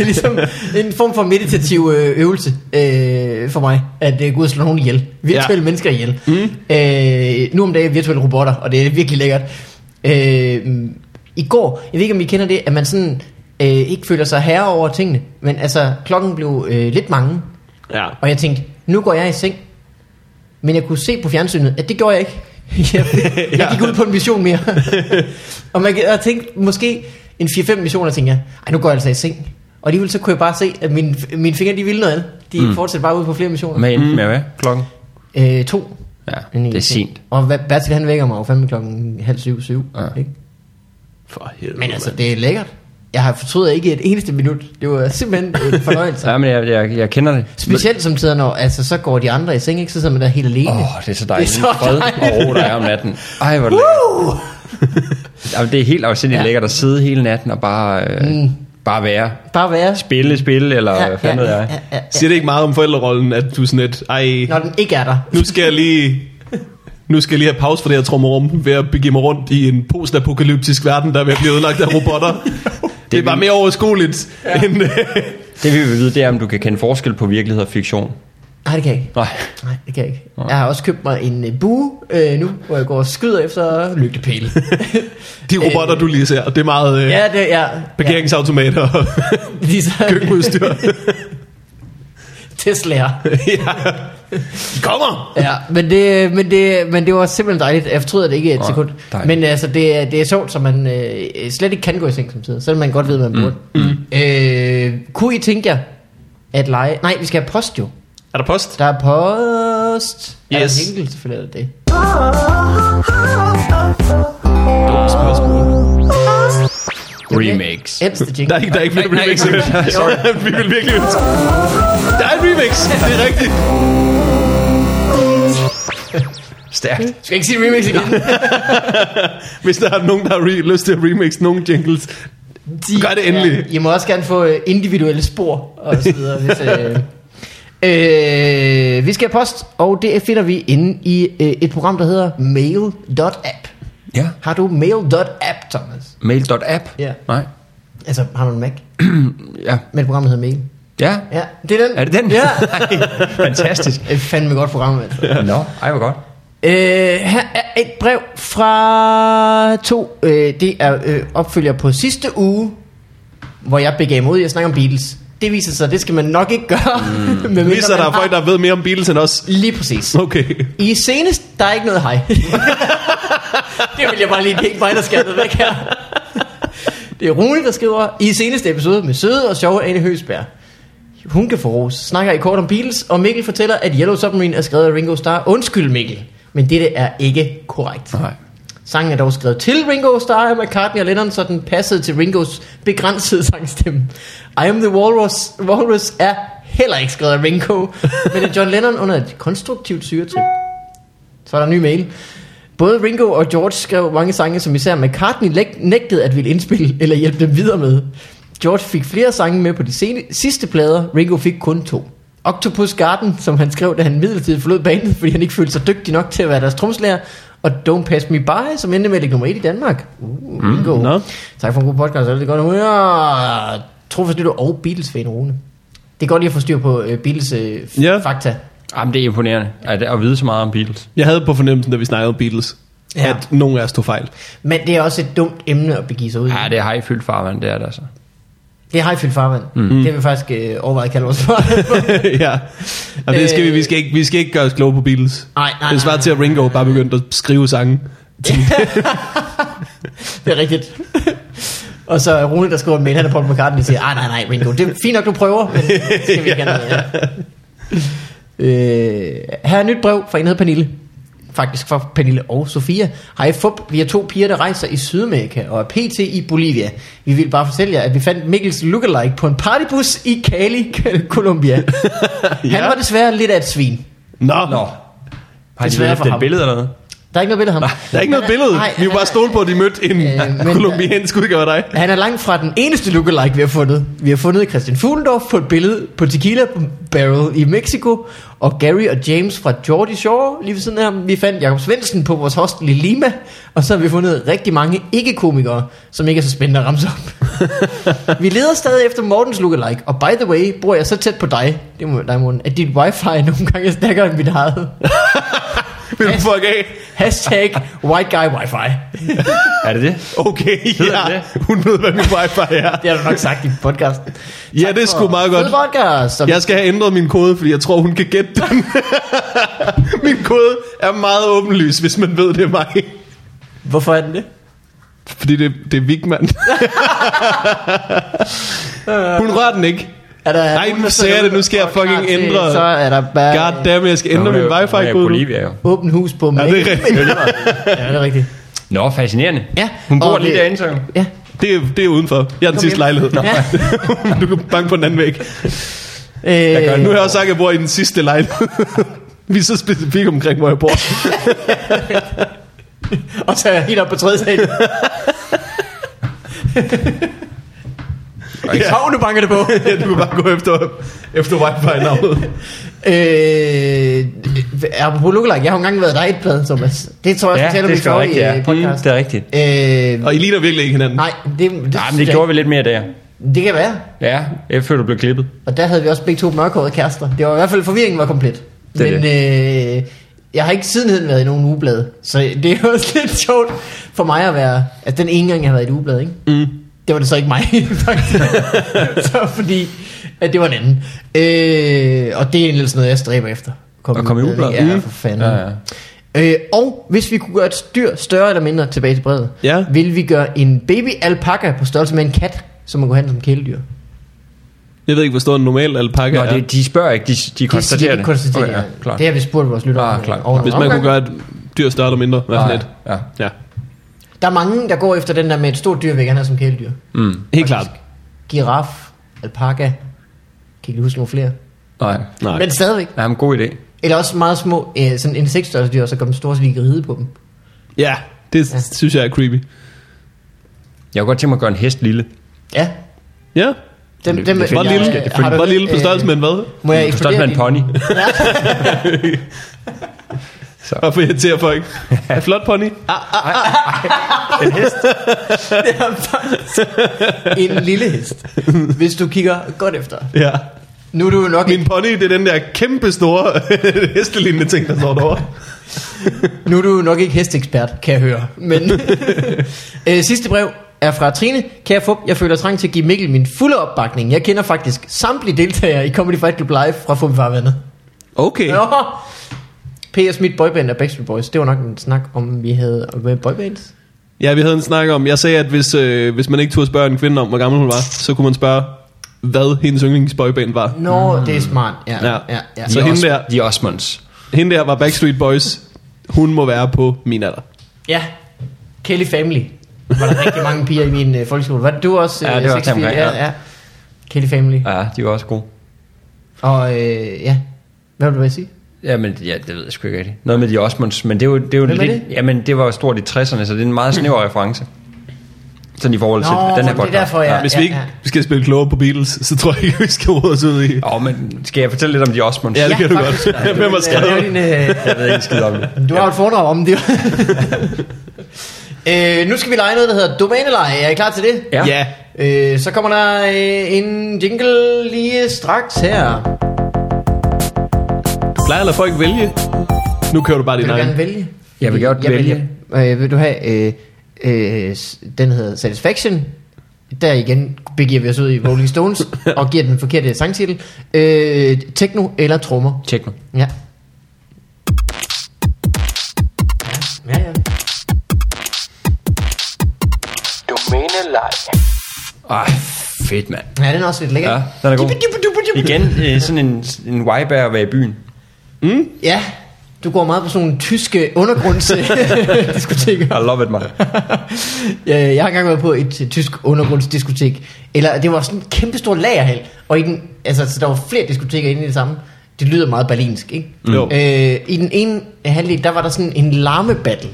Speaker 2: er ligesom en form for meditativ øh, øvelse øh, for mig, at øh, gå ud og slå nogen ihjel. Virtuelle
Speaker 3: Ja.
Speaker 2: ja. mennesker ihjel. Mm. Øh, nu om dagen er virtuelle robotter, og det er virkelig lækkert. Øh, I går, jeg ved ikke om I kender det, at man sådan øh, ikke føler sig herre over tingene, men altså klokken blev øh, lidt mange,
Speaker 3: Ja.
Speaker 2: og jeg tænkte, nu går jeg i seng. Men jeg kunne se på fjernsynet, at det gjorde jeg ikke. Jeg, jeg gik ud på en mission mere. og man, kan- jeg tænkte, måske en 4-5 missioner, tænkte jeg, Ej, nu går jeg altså i seng. Og alligevel så kunne jeg bare se, at mine, mine fingre, de ville noget andet. De mm. fortsatte bare ud på flere missioner.
Speaker 1: Hvad endte med hvad? Mm. Klokken?
Speaker 2: Øh, to.
Speaker 1: Ja,
Speaker 2: Inden i
Speaker 1: det er
Speaker 2: seng.
Speaker 1: sent.
Speaker 2: Og Ba- Bertil, han vækker mig jo fandme klokken halv syv, syv.
Speaker 1: Ja.
Speaker 2: Ikke?
Speaker 3: For helvede.
Speaker 2: Men altså,
Speaker 3: mand.
Speaker 2: det er lækkert. Jeg har fortrydet ikke et eneste minut. Det var simpelthen en fornøjelse.
Speaker 1: Ja, men jeg, jeg, jeg kender det.
Speaker 2: Specielt som tider, når altså, så går de andre i seng, ikke? så sidder man der helt alene.
Speaker 1: Åh, oh, det er så dejligt.
Speaker 2: Det er så
Speaker 1: Fred og
Speaker 2: dejligt.
Speaker 1: ro, der er om natten. Ej, hvor er det lækkert. Jamen, det er helt afsindigt ja.
Speaker 2: Ja.
Speaker 1: lækkert at sidde hele natten og bare, øh, mm. bare være.
Speaker 2: Bare være.
Speaker 1: Spille, spille, eller ja, hvad fanden ja,
Speaker 2: ja,
Speaker 1: jeg.
Speaker 2: ja, ja.
Speaker 3: Siger det ikke meget om forældrerollen, at du sådan et, ej,
Speaker 2: Når den ikke er der.
Speaker 3: nu skal jeg lige... Nu skal jeg lige have pause for det her trommerum ved at begive mig rundt i en postapokalyptisk verden, der er ved at blive ødelagt af robotter. Det er bare mere overskueligt ja. end... øh,
Speaker 1: Det vi vil vide, det er, om du kan kende forskel på virkelighed og fiktion.
Speaker 2: Nej, det kan jeg ikke.
Speaker 1: Nej.
Speaker 2: Nej, det kan jeg ikke. Jeg har også købt mig en øh, bue øh, nu, hvor jeg går og skyder efter lygtepæle.
Speaker 3: De robotter, du lige ser, det er meget øh,
Speaker 2: ja, det er... Ja,
Speaker 3: parkeringsautomater og
Speaker 2: de så,
Speaker 3: køkkenudstyr.
Speaker 2: Tesla'er.
Speaker 3: ja. De kommer!
Speaker 2: Ja, men det, men, det, men det var simpelthen dejligt. Jeg fortryder det ikke et
Speaker 1: Nej,
Speaker 2: sekund.
Speaker 1: dejligt.
Speaker 2: Men altså, det, er- det er sjovt, så man øh, slet ikke kan gå i seng som tider, selvom man godt ved, man burde. Mm. Øh, kunne I tænke jer at lege... Nej, vi skal have post jo.
Speaker 3: Er der post?
Speaker 2: Der er post. Er der
Speaker 3: Yes.
Speaker 2: en enkelt, selvfølgelig er der det.
Speaker 4: Ah,
Speaker 3: Dumt spørgsmål.
Speaker 1: Remakes.
Speaker 2: Ældste jingle.
Speaker 3: Der er ikke, der er ikke flere remixer. Vi vil virkelig ønske. Der er en remix, det er rigtigt.
Speaker 1: Stærkt.
Speaker 2: Skal jeg ikke sige remix igen?
Speaker 3: Hvis der er nogen, der har re- lyst til at remix nogle jingles,
Speaker 2: De,
Speaker 3: Gør det endelig.
Speaker 2: Ja, I må også gerne få øh, individuelle spor og så videre. hvis, øh, øh, vi skal have post, og det finder vi inde i øh, et program, der hedder mail.app.
Speaker 1: Ja.
Speaker 2: Har du mail.app, Thomas?
Speaker 1: Mail.app?
Speaker 2: Ja.
Speaker 1: Nej.
Speaker 2: Altså, har du en Mac?
Speaker 1: Ja.
Speaker 2: Men programmet hedder Mail.
Speaker 1: Ja.
Speaker 2: Ja, det er den.
Speaker 1: Er det den?
Speaker 2: Ja.
Speaker 1: Ej, Fantastisk.
Speaker 2: Det er fandme et godt program, altså.
Speaker 1: Nå, ej, hvor godt.
Speaker 2: Øh, her er et brev fra to. Øh, det er øh, opfølger på sidste uge, hvor jeg begav mig ud i at snakke om Beatles. Det viser sig, at det skal man nok ikke gøre. Mm. Men
Speaker 3: viser der er folk, der ved mere om Beatles end os.
Speaker 2: Lige præcis.
Speaker 3: Okay.
Speaker 2: I senest, der er ikke noget hej. det vil jeg bare lige, det er ikke mig, der skal det væk her. Det er Rune, der skriver, i seneste episode med søde og sjove Anne Høsberg. Hun kan få ros. Snakker i kort om Beatles, og Mikkel fortæller, at Yellow Submarine er skrevet af Ringo Starr. Undskyld Mikkel, men dette er ikke korrekt.
Speaker 1: Nej.
Speaker 2: Sangen er dog skrevet til Ringo Starr af McCartney og Lennon, så den passede til Ringos begrænsede sangstemme. I Am The Walrus, Walrus er heller ikke skrevet af Ringo, men af John Lennon under et konstruktivt syretrip. Så er der en ny mail. Både Ringo og George skrev mange sange, som især McCartney læg- nægtede at ville indspille eller hjælpe dem videre med. George fik flere sange med på de sene- sidste plader, Ringo fik kun to. Octopus Garden, som han skrev, da han midlertidigt forlod bandet, fordi han ikke følte sig dygtig nok til at være deres tromslærer, og Don't Pass Me By, som endte med at ligge nummer 1 i Danmark. Uh, Ringo.
Speaker 3: Mm, nå.
Speaker 2: Tak for en god podcast, og det er godt humør. Jeg tror faktisk, du er og Beatles-fan, Rune. Det er godt lige at få styr på uh, Beatles uh,
Speaker 3: Ja.
Speaker 2: fakta.
Speaker 1: Jamen, det er imponerende at, at vide så meget om Beatles.
Speaker 3: Jeg havde på fornemmelsen, da vi snakkede Beatles, ja.
Speaker 2: Ja.
Speaker 3: at nogen af os tog fejl.
Speaker 2: Men det er også et dumt emne at begive sig ud i.
Speaker 1: Ja, det har I fyldt farvand, det er det altså.
Speaker 2: Det er hejfyldt farvand. Mm. Det har vi faktisk øh, overvejet at kalde vores farvand.
Speaker 3: ja. Jamen, det skal vi, vi, skal ikke, vi skal ikke gøre os kloge på Beatles.
Speaker 2: Nej, nej,
Speaker 3: Det svarer
Speaker 2: nej,
Speaker 3: til, at Ringo bare begyndte at skrive sange.
Speaker 2: det er rigtigt. og så er Rune, der skriver en mail, han er Paul McCartney, og siger, "Ah, nej, nej, nej, Ringo, det er fint nok, du prøver, men det skal vi ikke have noget af." øh, Her er et nyt brev fra en, der hedder Pernille. faktisk fra Pernille og Sofia. Hej fup, vi er to piger, der rejser i Sydamerika og er pt. i Bolivia. Vi vil bare fortælle jer, at vi fandt Mikkels lookalike på en partybus i Cali, Colombia. ja. Han var desværre lidt af et svin.
Speaker 3: Nå.
Speaker 1: Nå. Har de
Speaker 2: Desværre
Speaker 1: været efter
Speaker 2: for
Speaker 1: et
Speaker 2: ham.
Speaker 1: billede eller noget?
Speaker 2: Der er ikke noget billede af ham.
Speaker 3: Der er ikke noget
Speaker 2: Han
Speaker 3: billede.
Speaker 2: nej,
Speaker 3: Vi er jo
Speaker 2: han
Speaker 3: bare
Speaker 2: er-
Speaker 3: stole på, at de mødte en
Speaker 2: Øh, men-
Speaker 3: kolumbiansk udgave af dig.
Speaker 2: Han er langt fra den eneste lookalike, vi har fundet. Vi har fundet Christian Fuglendorf på et billede på Tequila Barrel i Mexico, og Gary og James fra Geordie Shore lige ved siden af ham. Vi fandt Jakob Svendsen på vores hostel i Lima, og så har vi fundet rigtig mange ikke-komikere, som ikke er så spændende at ramse op. vi leder stadig efter Mortens lookalike, og by the way, bor jeg så tæt på dig, det må dig, Morten, at dit wifi nogle gange er stærkere end mit eget.
Speaker 3: Vil du fuck af?
Speaker 2: Hashtag white guy wifi.
Speaker 1: Er det det?
Speaker 3: Okay,
Speaker 1: Hedder
Speaker 3: ja. Hun ved, hvad min wifi er.
Speaker 2: Det har du nok sagt i podcasten.
Speaker 3: Ja, det er sgu meget godt.
Speaker 2: Fed podcast, som
Speaker 3: Jeg skal have ændret min kode, fordi jeg tror, hun kan gætte den. min kode er meget åbenlys, hvis man ved, det er mig.
Speaker 2: Hvorfor er den det?
Speaker 3: Fordi det, det er Vigman. hun rører den ikke.
Speaker 2: Er der
Speaker 3: Nej, nu sagde jeg det, nu skal jeg fucking
Speaker 2: Klar til,
Speaker 3: ændre.
Speaker 2: Så er der bare
Speaker 3: God damn, jeg skal ændre min wifi-kode. nu.
Speaker 1: Bolivia, jo.
Speaker 2: åben hus på mig.
Speaker 3: Ja, det er rigtigt.
Speaker 2: ja, det er rigtigt.
Speaker 1: Nå, fascinerende.
Speaker 2: Ja,
Speaker 1: Hun bor
Speaker 2: og
Speaker 1: lige
Speaker 2: det-
Speaker 1: derinde, så.
Speaker 2: Ja.
Speaker 3: Det er, det er udenfor. Jeg er den sidste
Speaker 2: hjem.
Speaker 3: lejlighed. Nå.
Speaker 2: Ja.
Speaker 3: du kan banke på den anden væg.
Speaker 2: Øh,
Speaker 1: gør
Speaker 3: Nu har jeg også sagt, at jeg bor i den sidste lejlighed. Vi er så specifikke omkring, hvor jeg bor.
Speaker 2: Øh, og så er jeg helt op på tredje sal.
Speaker 1: Ja.
Speaker 2: Hov, nu banker det på.
Speaker 3: Ja, du kan bare gå efter, efter wifi-navnet.
Speaker 2: øh, apropos lookalike, jeg har jo engang været dig et plade, Thomas. Det tror jeg, jeg
Speaker 1: Ja,
Speaker 2: fortæller
Speaker 1: det
Speaker 2: vi
Speaker 1: er sgu
Speaker 2: for i
Speaker 1: rigtigt, ja.
Speaker 2: øh,
Speaker 1: Mm,
Speaker 2: podcast.
Speaker 1: det er rigtigt.
Speaker 2: Øh,
Speaker 3: Og I ligner virkelig ikke hinanden.
Speaker 2: nej, det, det,
Speaker 1: Nej, men det gjorde vi lidt mere der.
Speaker 2: Det kan være.
Speaker 1: Ja, efter du blev klippet.
Speaker 2: Og der havde vi også begge to mørkhårede kærester. Det var i hvert fald, forvirringen var komplet.
Speaker 1: Det er
Speaker 2: Men øh, jeg har ikke sidenhen været i nogen ugeblad, så det er jo også lidt sjovt for mig at være... Altså den ene gang, jeg har været i et ugeblad, ikke? Mm. Det var det så ikke mig, faktisk. så fordi, at det var en anden. Øh, og det er egentlig sådan noget, jeg stræber efter. Kom
Speaker 1: At komme i ugebladet.
Speaker 2: Ja,
Speaker 1: Mm.
Speaker 2: for fanden.
Speaker 1: Ja, ja.
Speaker 2: Øh, og hvis vi kunne gøre et dyr større eller mindre tilbage til brevet,
Speaker 3: Ja.
Speaker 2: ville vi gøre en baby alpaka på størrelse med en kat, som man kunne have som kæledyr.
Speaker 3: Jeg ved ikke, hvor stor en normal alpaka
Speaker 1: Nå,
Speaker 3: er.
Speaker 1: det, de spørger ikke, de, de konstaterer det.
Speaker 2: det. Konstaterer
Speaker 1: Okay,
Speaker 2: okay,
Speaker 1: ja, klart.
Speaker 2: Det har vi spurgt vores lyttere
Speaker 1: Ah,
Speaker 2: om,
Speaker 1: klart.
Speaker 2: over en
Speaker 3: Hvis man
Speaker 2: omgang.
Speaker 3: kunne gøre et dyr større eller mindre, hvad for
Speaker 1: Ah,
Speaker 3: et?
Speaker 1: Ja.
Speaker 3: Ja,
Speaker 2: Der er mange, der går efter den der med et stort dyr, vil jeg gerne have som kæledyr.
Speaker 1: Mm.
Speaker 3: helt klart.
Speaker 2: Giraf, alpaka, kan ikke lige huske nogle flere.
Speaker 1: Nej.
Speaker 3: Nej.
Speaker 2: Men stadigvæk.
Speaker 1: Nej, men god idé.
Speaker 2: Eller også meget små, øh, sådan insektstørrelse dyr, og så kommer store, så vi kan ride på dem.
Speaker 3: Ja, det
Speaker 2: Ja.
Speaker 3: synes jeg er creepy.
Speaker 1: Jeg kunne godt tænke mig at gøre en hest lille.
Speaker 2: Ja,
Speaker 3: Ja,
Speaker 2: dem,
Speaker 1: Det-
Speaker 2: dem,
Speaker 1: det finder
Speaker 3: hvor
Speaker 1: jeg-
Speaker 2: jeg-
Speaker 3: lille,
Speaker 1: det
Speaker 2: har du-
Speaker 3: hvor lille på
Speaker 2: øh,
Speaker 3: størrelse med en hvad?
Speaker 2: Må jeg
Speaker 1: Forstår med
Speaker 2: eksplodere
Speaker 1: en
Speaker 2: din-
Speaker 1: pony.
Speaker 2: Ja,
Speaker 3: Hvorfor irriterer folk? Er flot pony?
Speaker 2: det er faktisk en lille hest. Hvis du kigger godt efter.
Speaker 3: Ja.
Speaker 2: Nu er du jo nok
Speaker 3: Min pony, det er den der kæmpe store hestelignende ting, der står derovre.
Speaker 2: Nu er du nok ikke hestekspert, kan jeg høre. Men øh, sidste brev er fra Trine. Kære Fup, jeg føler trang til at give Mikkel min fulde opbakning. Jeg kender faktisk samtlige deltagere i Comedy Fight Club Live fra Fup i Farvandet.
Speaker 3: Okay.
Speaker 2: Nå! P.S. Mit boyband er Backstreet Boys. Det var nok en snak om, vi havde med boybands.
Speaker 3: Ja, vi havde en snak om, jeg sagde, at hvis, øh, hvis man ikke turde spørge en kvinde om, hvor gammel hun var, så kunne man spørge, hvad hendes yndlingsboyband var.
Speaker 2: Nå, mm. det er smart. Ja,
Speaker 3: Ja.
Speaker 2: ja, ja. ja.
Speaker 3: Så
Speaker 1: De
Speaker 3: hende
Speaker 1: Os-
Speaker 3: der-
Speaker 1: De Osmonds.
Speaker 3: Hende der var Backstreet Boys. Hun må være på min alder.
Speaker 2: ja. Kelly Family. Var der rigtig mange piger i min øh, folkeskole. Var det du også?
Speaker 1: Ja, det var
Speaker 2: 86?
Speaker 1: omkring, ja.
Speaker 2: ja, ja. Kelly Family.
Speaker 1: Ja, de var også gode.
Speaker 2: Og øh, ja, hvad vil du bare sige?
Speaker 1: Jamen, ja, det ved jeg sgu ikke rigtigt. Noget med de Osmonds, men det er jo, det er jo
Speaker 2: Hvem er
Speaker 1: lidt...
Speaker 2: det?
Speaker 1: Jamen, det var jo stort i 60'erne, så det er en meget snæver reference. Sådan i forhold til den her
Speaker 2: det er
Speaker 1: podcast.
Speaker 2: derfor, ja.
Speaker 3: Hvis vi ikke skal spille klogere på Beatles, så tror jeg ikke, vi skal rode os ud i.
Speaker 1: Åh, men skal jeg fortælle lidt om de Osmonds?
Speaker 3: Ja, det kan du
Speaker 2: faktisk.
Speaker 3: godt. Hvem har
Speaker 2: Ja, det er
Speaker 3: skrevet?
Speaker 2: din, øh,
Speaker 1: Jeg ved ikke en skid om det.
Speaker 2: du har jo et foredrag om det. øh, nu skal vi lege noget, der hedder domæneleje. Er I klar til det?
Speaker 1: Ja.
Speaker 3: Ja.
Speaker 2: Øh, så kommer der øh, en jingle lige straks her.
Speaker 3: Plejer at lade folk vælge. Nu kører du bare din
Speaker 2: Vil du gerne
Speaker 3: egen.
Speaker 2: vælge?
Speaker 1: Jeg vil godt vælge.
Speaker 2: vælger. Øh, vil du have... Øh, øh, s- den hedder Satisfaction. Der igen begiver vi os ud i Rolling Stones og giver den forkerte sangtitel. Øh, techno eller trommer.
Speaker 1: Tjek nu.
Speaker 2: Ja. Ja, ja.
Speaker 5: Domæne leg.
Speaker 1: Ej, fedt, mand.
Speaker 2: Ja, den er også lidt lækker.
Speaker 1: Ja, den er god. Igen, øh, sådan en, en wipe at være i byen.
Speaker 2: Ja, Du går meget på sådan nogle tyske undergrundsdiskoteker.
Speaker 1: I love it, man.
Speaker 2: Øh, Jeg har engang været på et øh, tysk undergrundsdiskotek Eller det var sådan en kæmpe stor lagerhal Og i den, altså så der var flere diskoteker inde i det samme Det lyder meget berlinsk, ikke?
Speaker 3: Jo.
Speaker 2: Øh, I den ene halvdel, der var der sådan en larmebattle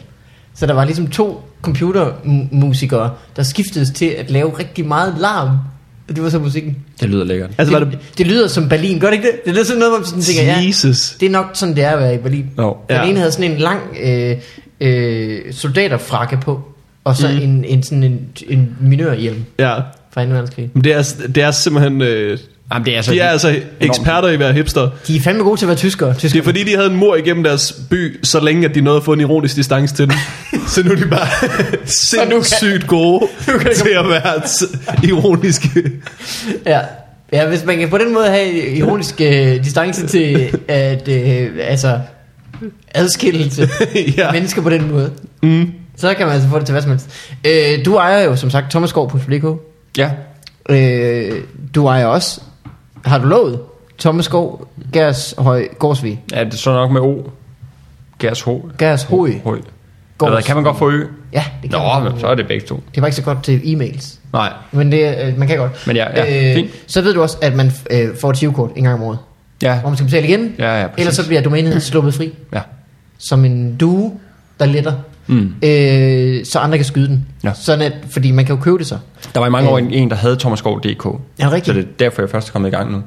Speaker 2: Så der var ligesom to computermusikere Der skiftedes til at lave rigtig meget larm Og det var så musikken
Speaker 1: Det lyder lækkert.
Speaker 3: Altså, var det...
Speaker 2: det, det lyder som Berlin, gør det ikke det? Det lyder sådan noget, hvor man sådan tænker, ja,
Speaker 3: Jesus.
Speaker 2: det er nok sådan, det er at være i Berlin.
Speaker 1: Jo.
Speaker 2: Den
Speaker 3: Ja.
Speaker 2: ene havde sådan en lang øh, øh, soldaterfrakke på, og så mm. en, en, sådan en, en minørhjelm
Speaker 3: Ja.
Speaker 2: fra 2. verdenskrig.
Speaker 3: Men det er, det er simpelthen... Øh,
Speaker 1: Jamen, det er altså,
Speaker 3: de er altså eksperter i at være hipster.
Speaker 2: De er fandme gode til at være tyskere.
Speaker 3: Det
Speaker 2: tyskere.
Speaker 3: er fordi, de havde en mor igennem deres by, så længe at de nåede at få en ironisk distance til den. Så nu er de bare sindssygt gode til at være s- ironiske.
Speaker 2: Ja. ja, hvis man kan på den måde have ironisk øh, distance til at øh, altså, adskillelse
Speaker 3: ja.
Speaker 2: ja. mennesker på den måde, mm. så kan man altså få det til hvad som helst. Øh, du ejer jo som sagt Thomas Gård på Publico.
Speaker 1: Ja.
Speaker 2: Øh, du ejer også, har du lovet, Thomas Skov, Gers Høj, Gårdsvig,
Speaker 1: ja, det er så nok med O. Gers H.
Speaker 2: Gers Høj,
Speaker 1: Høj. Eller, kan man godt få Ø?
Speaker 2: Ja, det kan
Speaker 1: Nå,
Speaker 2: man.
Speaker 1: men så er det begge to.
Speaker 2: Det var ikke så godt til e-mails,
Speaker 1: Nej.
Speaker 2: men det, øh, man kan godt. Øh,
Speaker 1: Men ja, ja, fint.
Speaker 2: så ved du også, at man øh, får et 20-kort en gang om året,
Speaker 1: Ja.
Speaker 2: hvor man skal betale igen,
Speaker 1: Ja, ja, præcis.
Speaker 2: ellers så bliver domænet sluppet fri,
Speaker 1: Ja.
Speaker 2: som en due, der letter,
Speaker 1: Mm.
Speaker 2: øh, så andre kan skyde den.
Speaker 1: Ja.
Speaker 2: Sådan at, fordi man kan jo købe det så.
Speaker 1: Der var i mange
Speaker 2: Øh.
Speaker 1: år en, en der havde Thomas Skov DK.
Speaker 2: Ja, rigtigt.
Speaker 1: Så det er derfor, jeg først er kommet i gang nu.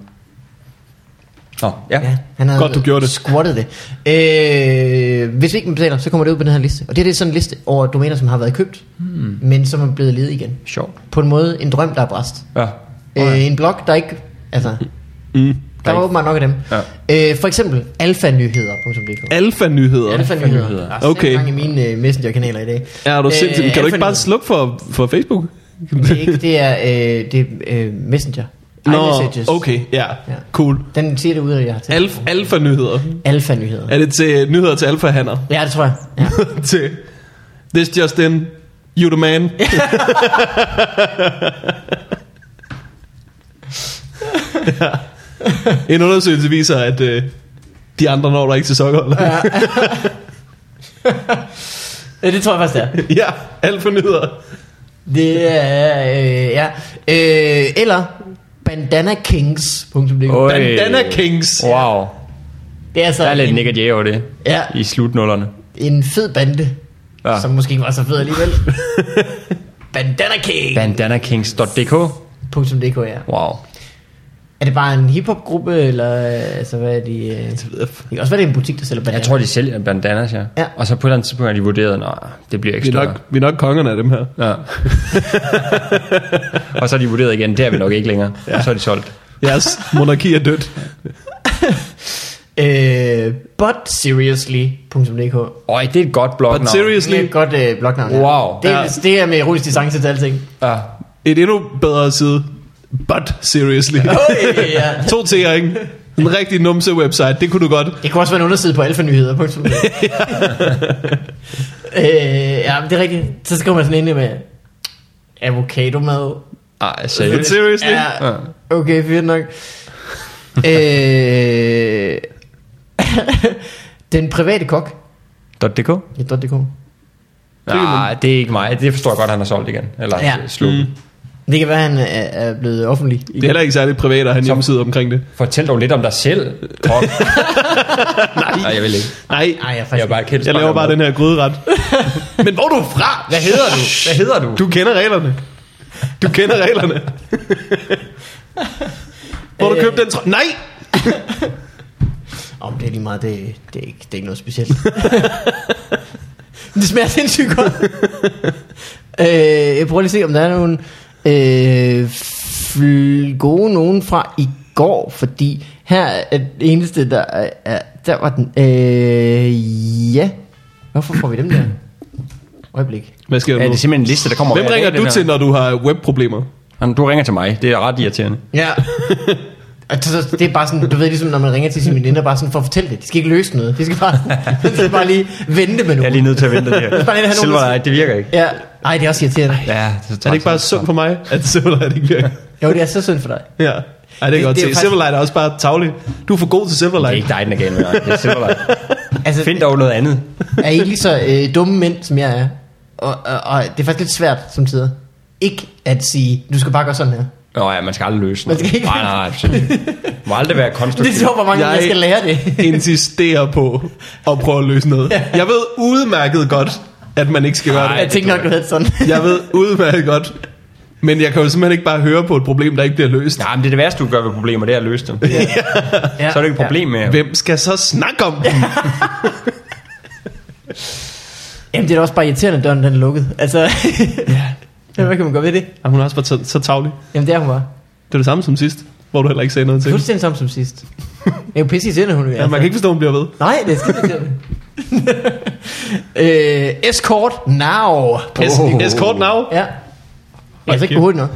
Speaker 1: Nå, ja.
Speaker 2: Ja, han havde
Speaker 3: Godt, du gjorde det.
Speaker 2: Squattet det. Øh, hvis vi ikke betaler, så kommer det ud på den her liste. Og det her, det er sådan en liste over domæner, som har været købt, hmm. men som er blevet ledet igen.
Speaker 1: Sjovt.
Speaker 2: På en måde en drøm, der er bræst.
Speaker 1: Ja.
Speaker 2: Øh, en blog, der ikke... Altså,
Speaker 3: Mm.
Speaker 2: der var
Speaker 1: ikke-
Speaker 2: åbenbart nok af dem. Øh, for eksempel alfanyheder.dk
Speaker 3: Alfa-nyheder.
Speaker 2: Alfanyheder. Der er
Speaker 3: Okay.
Speaker 2: okay. mange i mine øh, messengerkanaler i dag.
Speaker 3: Er du
Speaker 2: Øh,
Speaker 3: sindssygt? Kan du ikke bare
Speaker 2: alfanyheder.
Speaker 3: slukke for, for Facebook?
Speaker 2: Det er, ikke, det er, øh, det er øh, messenger.
Speaker 3: Nå,
Speaker 2: iMessages.
Speaker 3: okay, ja.
Speaker 2: Ja.
Speaker 3: Cool.
Speaker 2: Den siger det ud, at jeg har til.
Speaker 3: Alf, alfa-nyheder.
Speaker 2: Alfanyheder.
Speaker 3: Er det til nyheder til alfa-hanner?
Speaker 2: Ja, det tror jeg. Ja.
Speaker 3: til This just in, you the man. Ja. En undersøgelse viser, at øh, de andre når der ikke til sokkerholdet. Ja.
Speaker 2: ja, det tror jeg faktisk, det er.
Speaker 3: ja, alt for nyheder.
Speaker 2: Det er, øh, ja. Øh, eller bandanakings.dk.
Speaker 1: Øj.
Speaker 3: Bandana Kings.
Speaker 1: Wow.
Speaker 2: Det er så
Speaker 1: Der er lidt
Speaker 2: en,
Speaker 1: Nick og Jay over det.
Speaker 2: Ja.
Speaker 1: I slutnullerne.
Speaker 2: en fed bande, ja.
Speaker 1: Ja.
Speaker 2: som måske ikke var så fed alligevel. bandanakings.dk,
Speaker 1: Bandanakings.dk.
Speaker 2: ja.
Speaker 1: Wow.
Speaker 2: Er det bare en hiphopgruppe, eller øh, altså, hvad er de? Øh? Det kan også være, det er en butik, der sælger bandaner.
Speaker 1: Jeg tror, de sælger bandanas, ja.
Speaker 2: Ja.
Speaker 1: Og så på et eller andet tidspunkt har de vurderet, nej, det bliver ikke
Speaker 3: Vi er,
Speaker 1: større.
Speaker 3: nok, vi er nok kongerne af dem her.
Speaker 1: Ja. og så har de vurderet igen, det er vi nok ikke længere. Ja. Og så er de solgt.
Speaker 3: Jeres monarki er dødt.
Speaker 2: Øh, butseriously.dk
Speaker 1: Øj, det er et godt blog.
Speaker 3: But seriously,
Speaker 2: Det er et godt øh, blognavn. ja.
Speaker 1: Wow.
Speaker 2: Det,
Speaker 3: Ja.
Speaker 2: er, det er med ironisk distance til alting.
Speaker 1: Ja.
Speaker 3: et endnu bedre side. But seriously.
Speaker 2: Øj, ja.
Speaker 3: to T'er, ikke? En rigtig numse website, det kunne du godt.
Speaker 2: Det kunne også være en underside på alfanyheder. punktum. øh, ja, men det er rigtigt. Så skriver man sådan ind med avocadomad.
Speaker 1: Ej,
Speaker 3: But
Speaker 1: seriøst.
Speaker 3: seriously.
Speaker 2: Ja,
Speaker 1: Ja.
Speaker 2: okay, fint nok. øh, den private kok.
Speaker 1: .dk?
Speaker 2: Ja, dot .dk.
Speaker 1: Nej, det er ikke mig. Det forstår jeg godt, han har solgt igen. Eller
Speaker 2: Ja.
Speaker 1: ja. slukket. Mm.
Speaker 2: Det kan være, at han er- er blevet offentlig. igen.
Speaker 3: Det er heller ikke særlig privat at have en hjemmeside omkring det.
Speaker 1: Fortæl dog lidt om dig selv, Trump. Nej. Nej, jeg vil ikke.
Speaker 3: Nej,
Speaker 2: Ej, jeg er
Speaker 1: Jeg
Speaker 2: faktisk
Speaker 1: er bare et kendt
Speaker 3: Jeg laver bare den her gryderet. Men hvor er du fra?
Speaker 1: Hvad hedder du? Hvad hedder du?
Speaker 3: Du kender reglerne. Du kender reglerne. hvor har du købt den trøje? Nej!
Speaker 2: Om det er lige meget, det, det, er, ikke, det er ikke noget specielt. Men det smager sindssygt godt. øh, jeg prøver lige at se, om der er nogen øh, fl- gode nogen fra i går, fordi her er det eneste, der er, er- der var den. Øh, ja. Hvorfor får vi dem der? Øjeblik.
Speaker 3: Hvad sker der
Speaker 1: Ja,
Speaker 3: nu?
Speaker 1: det er simpelthen en liste, der kommer
Speaker 3: Hvem
Speaker 1: hver dag,
Speaker 3: ringer
Speaker 1: den
Speaker 3: du
Speaker 1: her.
Speaker 3: til, når du har webproblemer?
Speaker 1: Jamen, Du ringer til mig. Det er ret irriterende.
Speaker 2: Ja. Altså, så det er bare sådan, du ved ligesom, når man ringer til sine veninder, bare sådan for at fortælle det. De skal ikke løse noget. De skal bare, de skal bare lige vente med
Speaker 1: Jeg er
Speaker 2: nogen.
Speaker 1: lige nødt til at vente det her.
Speaker 2: Bare lige have nogen,
Speaker 1: Silver
Speaker 2: der-
Speaker 1: Light, det virker ikke.
Speaker 2: Ja, ej, det er også irriterende.
Speaker 1: Ja, det
Speaker 3: Er det ikke bare synd for mig, at Silverlight ikke virker?
Speaker 2: Jo, det er så synd for dig.
Speaker 3: Ja. Ej, det
Speaker 2: Det-
Speaker 3: er
Speaker 2: det er
Speaker 3: godt se.
Speaker 2: faktisk-
Speaker 3: Silverlight er også bare taglig. Du er for god
Speaker 1: Det
Speaker 3: til
Speaker 1: er
Speaker 3: Silverlight.
Speaker 1: ikke dig, den er galt med. Det er Silver Light.
Speaker 2: Altså,
Speaker 1: Find dog noget andet.
Speaker 2: er I lige så øh, dumme mænd, som jeg er? Og, og, og det er faktisk lidt svært, som tider, ikke at sige, du skal bare gøre sådan her.
Speaker 1: Nå ja, man skal aldrig løse
Speaker 2: Man
Speaker 1: noget.
Speaker 2: skal ikke-
Speaker 1: Nej, nej, nej. absolut. Man må aldrig være
Speaker 2: Det er
Speaker 1: konstruktiv.
Speaker 2: sjovt, hvor mange jeg,
Speaker 3: Jeg-
Speaker 2: jeg skal lære det.
Speaker 3: insisterer på at prøve at løse noget. Jeg ved udmærket godt, at man ikke skal gøre
Speaker 1: Nej,
Speaker 2: jeg
Speaker 3: det.
Speaker 2: tænkte nok, du havde det sådan.
Speaker 3: Jeg ved udmærket godt. Men jeg kan jo simpelthen ikke bare høre på et problem, der ikke bliver løst.
Speaker 1: Nej, men det er det værste, du gør ved problemer, det er at løse dem.
Speaker 2: ja.
Speaker 1: Så er det ikke et problem med.
Speaker 3: Hvem skal så snakke om det?
Speaker 2: Ja. Jamen, det er da også bare irriterende, at døren den er lukket. Altså, ja. hvad kan man gøre ved det?
Speaker 3: Jamen, hun er også bare så, så tavlig.
Speaker 2: Jamen, det er hun bare.
Speaker 3: Det er det samme som sidst, hvor du heller ikke sagde noget til. hende.
Speaker 2: Fuldstændig samme som sidst. Det er jo pisse irriterende, hun er.
Speaker 3: Ja, man kan ikke forstå, hun bliver ved.
Speaker 2: Nej, det er skide irriterende. øh, escort now.
Speaker 1: Oh.
Speaker 3: Es- Escort now?
Speaker 2: Ja. Det er altså ikke hurtigt nok.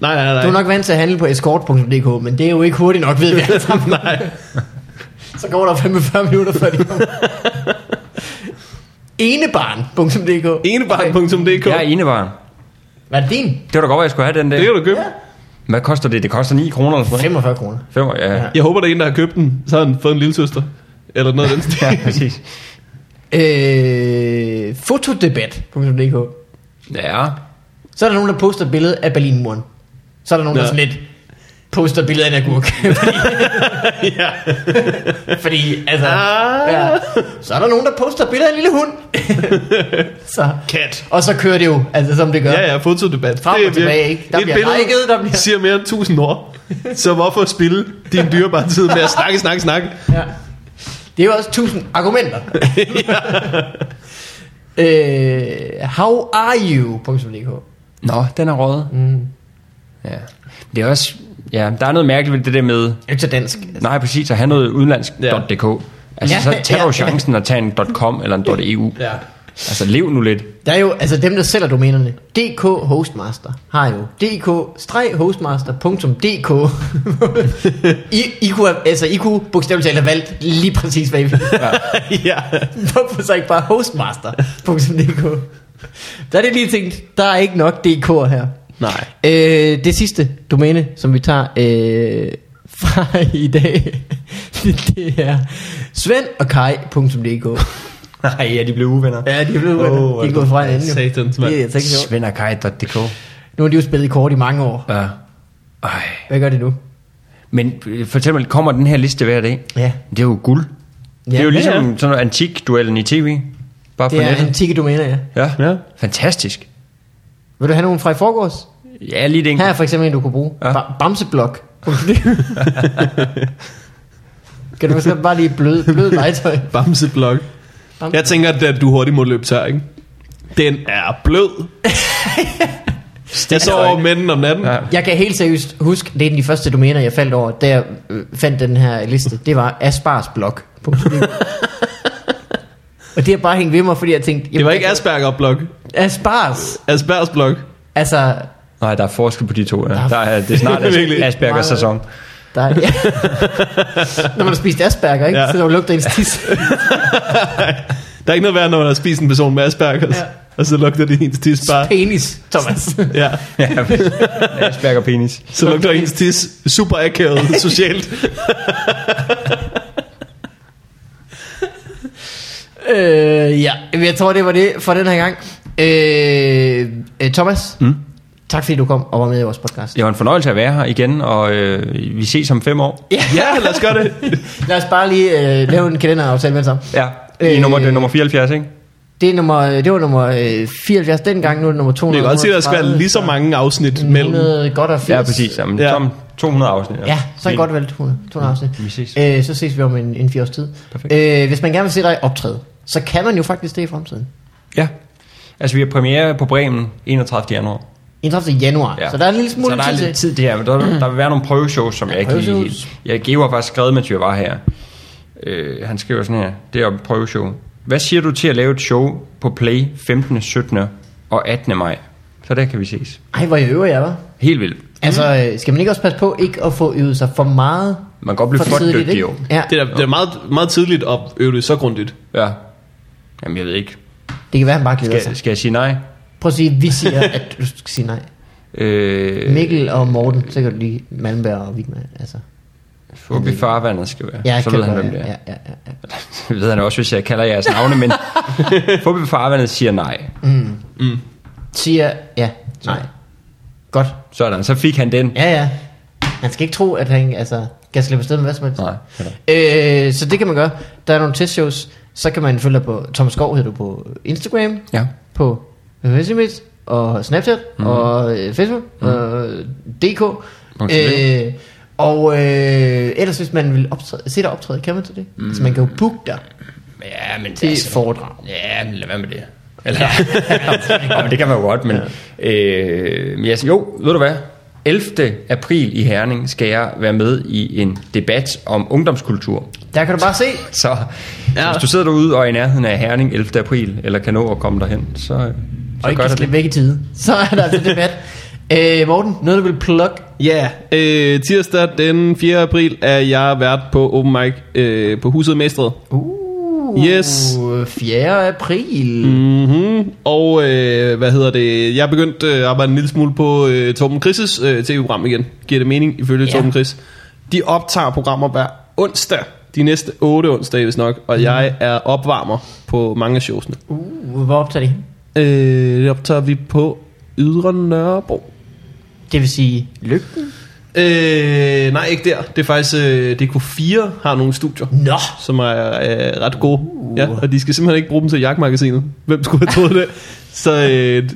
Speaker 3: Nej, nej, nej.
Speaker 2: Du er nok vant til at handle på escort.dk, men det er jo ikke hurtigt nok, ved vi alle sammen.
Speaker 3: nej.
Speaker 2: Så går der 45 minutter, før de kommer. Enebarn.dk
Speaker 3: Enebarn.dk.
Speaker 1: Jeg er enebarn.
Speaker 2: Hvad er det din?
Speaker 1: Det var da godt, at jeg skulle have den der.
Speaker 3: Det kan du købe.
Speaker 1: Hvad koster det? Det koster 9 kroner eller sådan noget.
Speaker 2: 45 kroner.
Speaker 1: Fem, ja. ja.
Speaker 3: Jeg håber, der er en, der har købt den. Så har han fået en lille søster. Eller noget af den stil.
Speaker 1: Ja, præcis.
Speaker 2: Øh, fotodebat.dk
Speaker 1: Ja.
Speaker 2: Så er der nogen, der poster et billede af Berlinmuren. Så er der nogen, der
Speaker 3: Ja.
Speaker 2: sådan lidt poster et billede af en agurk. fordi, fordi, altså...
Speaker 3: Ah,
Speaker 2: Ja. Så er der nogen, der poster et billede af en lille hund. så.
Speaker 3: Kat.
Speaker 2: Og så kører det jo, altså som det gør.
Speaker 3: Ja, ja, fotodebat.
Speaker 2: Frem og
Speaker 3: Det er virkelig-
Speaker 2: tilbage, ikke? Der
Speaker 3: det er et
Speaker 2: bliver
Speaker 3: billede,
Speaker 2: liket, der bliver-
Speaker 3: siger mere end 1000 ord. Så hvorfor spille din dyrebare tid med at snakke, snakke, snakke?
Speaker 2: Ja. Det er jo også tusind argumenter. øh, how are you.dk
Speaker 1: Nå, den er røget.
Speaker 2: Mm.
Speaker 1: Ja. Det er også... Ja, der er noget mærkeligt ved det der med...
Speaker 2: Ikke så dansk.
Speaker 1: Nej, præcis, at have noget udenlandsk.dk. Altså,
Speaker 2: Ja,
Speaker 1: så tager du
Speaker 2: ja,
Speaker 1: jo
Speaker 2: ja.
Speaker 1: chancen at tage en .com eller en .eu.
Speaker 3: Ja.
Speaker 1: Altså, lev nu lidt.
Speaker 2: Der er jo, altså dem der sælger domænerne, DK Hostmaster har jo dk-hostmaster.dk I, I, kunne, have, altså, I kunne bogstaveligt talt have valgt lige præcis hvad I ville.
Speaker 3: ja.
Speaker 2: Hvorfor så ikke bare hostmaster.dk Der er det lige tænkt, der er ikke nok DK'er her.
Speaker 3: Nej.
Speaker 2: Øh, det sidste domæne, som vi tager øh, fra i dag, det er svendogkaj.dk
Speaker 1: Nej, ja, de blev uvenner.
Speaker 2: Ja, de er blevet oh, de er gået fra hinanden. jo.
Speaker 3: satans, mand.
Speaker 2: Det er altså ikke sjovt.
Speaker 1: Svenderkaj.dk.
Speaker 2: Nu har de jo spillet kort i mange år.
Speaker 1: Ja. Ej.
Speaker 2: Hvad gør de nu?
Speaker 1: Men øh, fortæl mig, kommer den her liste hver dag?
Speaker 2: Ja.
Speaker 1: Det er jo guld. Ja, det er jo ligesom ja, ja. sådan noget antik-duellen i tv. Bare på
Speaker 2: Det er
Speaker 1: nettet.
Speaker 2: antikke domæner, ja.
Speaker 1: Ja.
Speaker 3: Ja.
Speaker 1: ja. Fantastisk.
Speaker 2: Vil du have nogen fra i forgårs?
Speaker 1: Ja, lige det
Speaker 2: Her
Speaker 1: enkelt.
Speaker 2: er for eksempel en, du kunne bruge.
Speaker 1: Ja.
Speaker 2: Ba- Bamseblok. kan du måske bare lige bløde, bløde legetøj?
Speaker 3: Bamseblok.
Speaker 2: Bamse.
Speaker 3: Jeg tænker, at du hurtigt må løbe tør, ikke? Den er blød. Jeg så over mænden om natten.
Speaker 1: Ja.
Speaker 2: Jeg kan helt seriøst huske, det er en af de første domæner, jeg faldt over, da jeg øh, fandt den her liste. Det var asparsblok. Og det har bare hængt ved mig, fordi jeg tænkte...
Speaker 3: Det var
Speaker 2: jamen,
Speaker 3: ikke Asperger-blok.
Speaker 2: Aspars.
Speaker 3: Aspergers-blok.
Speaker 2: Altså,
Speaker 1: Nej, der er forskel på de to. Ja. Der er, det er snart As-
Speaker 3: Virkelig.
Speaker 1: Aspergers sæson.
Speaker 2: Der er, ja. Når man har spist asperger, ikke? Ja.
Speaker 3: Ja.
Speaker 2: Så der lugter ens tis.
Speaker 3: Der er ikke noget værd, når man har spist en person med Aspergers.
Speaker 2: Ja.
Speaker 3: Og så lugter det ens tis bare.
Speaker 2: Penis, Thomas.
Speaker 3: Ja,
Speaker 1: Ja. Asperger penis.
Speaker 3: så lugter ens tis super akavet socialt.
Speaker 2: øh, ja, Jamen, jeg tror, det var det for den her gang. Øh, øh, Thomas, mm? tak fordi du kom og var med i vores podcast.
Speaker 1: Det var en fornøjelse at være her igen, og øh, vi ses om fem år.
Speaker 3: Ja, lad os gøre det.
Speaker 2: Lad os bare lige øh, lave en kalenderaftale med det sammen.
Speaker 1: Ja, i
Speaker 2: Øh.
Speaker 1: nummer, det er nummer 74, ikke?
Speaker 2: Det, er nummer, det var nummer øh, 74 dengang, nu er det nummer
Speaker 3: Vi
Speaker 2: 200.
Speaker 3: kan godt se, at der skal være lige så mange afsnit mellem.
Speaker 2: Godt og 80.
Speaker 1: Ja, præcis. Jamen,
Speaker 3: Ja.
Speaker 1: ja. Som 200 afsnit.
Speaker 2: Ja, så er det
Speaker 1: Fint.
Speaker 2: godt valgt 200, 200 afsnit.
Speaker 1: Vi ses.
Speaker 2: Øh, så ses vi om en, en fire års tid.
Speaker 1: Perfekt.
Speaker 2: Øh, hvis man gerne vil se dig optræde, så kan man jo faktisk det i fremtiden.
Speaker 1: Ja. Altså, vi har premiere på Bremen 31. januar.
Speaker 2: 31. januar. Ja.
Speaker 1: Ja.
Speaker 2: Så der er en lille smule
Speaker 1: så der er
Speaker 2: tid
Speaker 1: lidt
Speaker 2: til.
Speaker 1: tid det her, men der, der vil være nogle prøveshows, som jeg ikke lige
Speaker 2: prøveshows.
Speaker 1: helt... Jeg giver faktisk skrevet, mens jeg var her. Øh, han skriver sådan her, det er et prøveshow. Hvad siger du til at lave et show på Play 15., 17. og 18. maj? Så der kan vi ses.
Speaker 2: Ej, hvor jeg øver jeg, var.
Speaker 1: Helt vildt.
Speaker 2: Altså, øh, skal man ikke også passe på ikke at få øvet sig for meget?
Speaker 1: Man kan godt blive
Speaker 2: for
Speaker 1: for
Speaker 2: tidligt,
Speaker 1: dygtig,
Speaker 2: ikke?
Speaker 1: jo.
Speaker 2: Ja,
Speaker 3: Det er, da- det er meget, meget tidligt at øve det så grundigt.
Speaker 1: Ja. Jamen, jeg ved ikke.
Speaker 2: det kan være, han bare glæder sig.
Speaker 1: Skal, skal jeg sige nej?
Speaker 2: Prøv at sige, vi siger, at du skal sige nej.
Speaker 1: Øh,
Speaker 2: Mikkel og Morten, så kan du lige Malmberg og Wigman, altså.
Speaker 1: Fubi farvandet skal være.
Speaker 2: Ja,
Speaker 1: så ved han,
Speaker 2: det.
Speaker 1: hvem det er.
Speaker 2: Ja, ja, ja, ja.
Speaker 1: Det ved han også, hvis jeg kalder jeres navne, men Fubi farvandet siger nej.
Speaker 2: Siger, ja, nej. Godt.
Speaker 1: Sådan, så fik han den.
Speaker 2: Ja, ja. Han skal ikke tro, at han altså, kan slippe afsted med hvad som helst.
Speaker 1: Nej.
Speaker 2: Øh, så det kan man gøre. Der er nogle testshows. Så kan man følge dig på Thomas Skov, hedder du på Instagram,
Speaker 1: Ja. Mhm.
Speaker 2: på Facebook og Snapchat mm. og øh, Facebook mm. og DK.
Speaker 1: dk.
Speaker 2: Øh, og øh, ellers hvis man vil optræde, se dig optræde, kan man til det?
Speaker 1: Mhm.
Speaker 2: Mm. Så man kan jo booke dig
Speaker 1: Ja, men det
Speaker 2: til et foredrag.
Speaker 1: Ja, men lad være med det. Eller, ja, men det kan man jo godt, men... Øh, men jeg siger, jo, ved du hvad? 11. april i Herning skal jeg være med i en debat om ungdomskultur.
Speaker 2: Der kan du bare se.
Speaker 1: Så, ja. så hvis du sidder derude og er i nærheden af Herning 11. april, eller kan nå at komme derhen, så, så
Speaker 2: Og ikke
Speaker 1: gør det.
Speaker 2: kan slippe væk i tide. Så er der altså debat. Øh, Morten, noget du vil plukke?
Speaker 3: Ja, yeah. øh, tirsdag den 4. april er jeg vært på open mic øh, på Huset Mestret.
Speaker 2: Uh,
Speaker 3: Yes.
Speaker 2: 4. april.
Speaker 3: Mm-hmm. Og øh, hvad hedder det? Jeg er begyndt øh, at arbejde en lille smule på øh, Torben Chris' øh, tv-program igen. Giver det mening ifølge
Speaker 2: Ja.
Speaker 3: ja. Torben Chris. De optager programmer hver onsdag. De næste otte onsdage, hvis nok. Og mm. jeg er opvarmer på mange af showsene.
Speaker 2: Uh, hvor optager de? henne?
Speaker 3: Øh, det optager vi på Ydre Nørrebro.
Speaker 2: Det vil sige lygten?
Speaker 3: Øh, nej, ikke der. Det er faktisk øh, DK4 har nogle studier.
Speaker 2: Nå!
Speaker 3: som er øh, ret gode. Uh. Ja, og de skal simpelthen ikke bruge dem til jagtmagasinet. Hvem skulle have troet det? Så øh,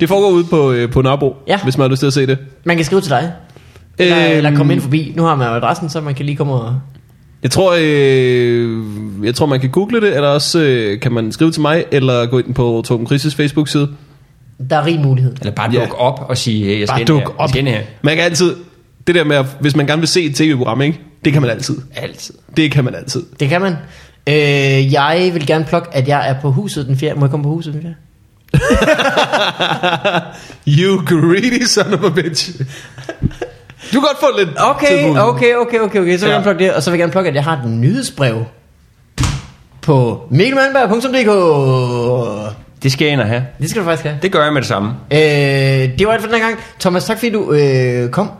Speaker 3: det foregår ude på, øh, på Nørrebro,
Speaker 2: Ja.
Speaker 3: ja. hvis man har lyst til at se det.
Speaker 2: Man kan skrive til dig. Eller,
Speaker 3: Øhm.
Speaker 2: eller komme ind forbi. Nu har man jo adressen, så man kan lige komme og...
Speaker 3: Jeg tror, øh, jeg tror man kan google det, eller også øh, kan man skrive til mig, eller gå ind på Torben Chris' Facebook-side.
Speaker 2: Der er rig mulighed.
Speaker 1: Eller bare
Speaker 3: Ja.
Speaker 1: dukke op og sige, hey, jeg skal
Speaker 3: Bare
Speaker 1: ind
Speaker 3: duk
Speaker 1: her. Jeg
Speaker 3: op.
Speaker 1: skal ind her.
Speaker 3: Man kan altid, det der med, at, hvis man gerne vil se et tv-program, ikke? det kan man altid.
Speaker 1: Altid.
Speaker 3: Det kan man altid.
Speaker 2: Det kan man. Øh, jeg vil gerne plukke, at jeg er på huset den 4. Må jeg komme på huset den 4?
Speaker 3: You greedy son of a bitch. Du kan godt få lidt
Speaker 2: Okay,
Speaker 3: tilbud.
Speaker 2: okay, okay, okay, okay. Så vil jeg
Speaker 3: Ja.
Speaker 2: gerne plukke det. Og så vil jeg gerne plukke, at jeg har et nyhedsbrev på mikkelmandberg.dk.
Speaker 1: Det skal jeg ind og have.
Speaker 2: Det skal du faktisk have.
Speaker 1: Det gør jeg med det samme.
Speaker 2: Øh, det var alt for den her gang. Thomas, tak fordi du øh, kom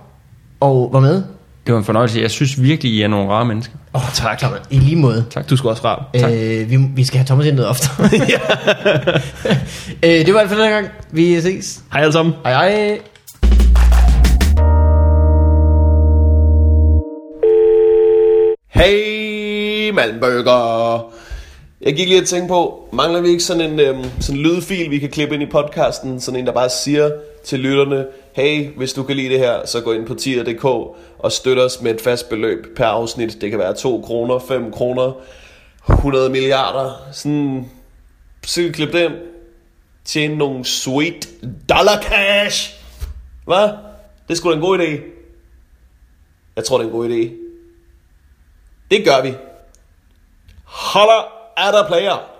Speaker 2: og var med.
Speaker 1: Det var en fornøjelse. Jeg synes virkelig, I er nogle rare mennesker.
Speaker 2: Oh, tak. Thomas. I lige måde.
Speaker 1: Tak.
Speaker 3: Du skal også rar.
Speaker 2: Øh, vi, vi skal have Thomas ind noget oftere. øh, det var alt for den her gang. Vi ses.
Speaker 3: Hej alle sammen.
Speaker 2: Hej hej.
Speaker 3: Hey, Malmbøger! Jeg gik lige og tænkte på, mangler vi ikke sådan en, øhm, sådan en lydfil, vi kan klippe ind i podcasten? Sådan en, der bare siger til lytterne, hey, hvis du kan lide det her, så gå ind på tier.dk og støt os med et fast beløb per afsnit. Det kan være 2 kroner, 5 kroner, 100 milliarder. Sådan, så klip det ind. Tjene nogle sweet dollar cash. Hvad? Det skulle sgu da en god idé. Jeg tror, det er en god idé. Det gør vi. Holler er der player.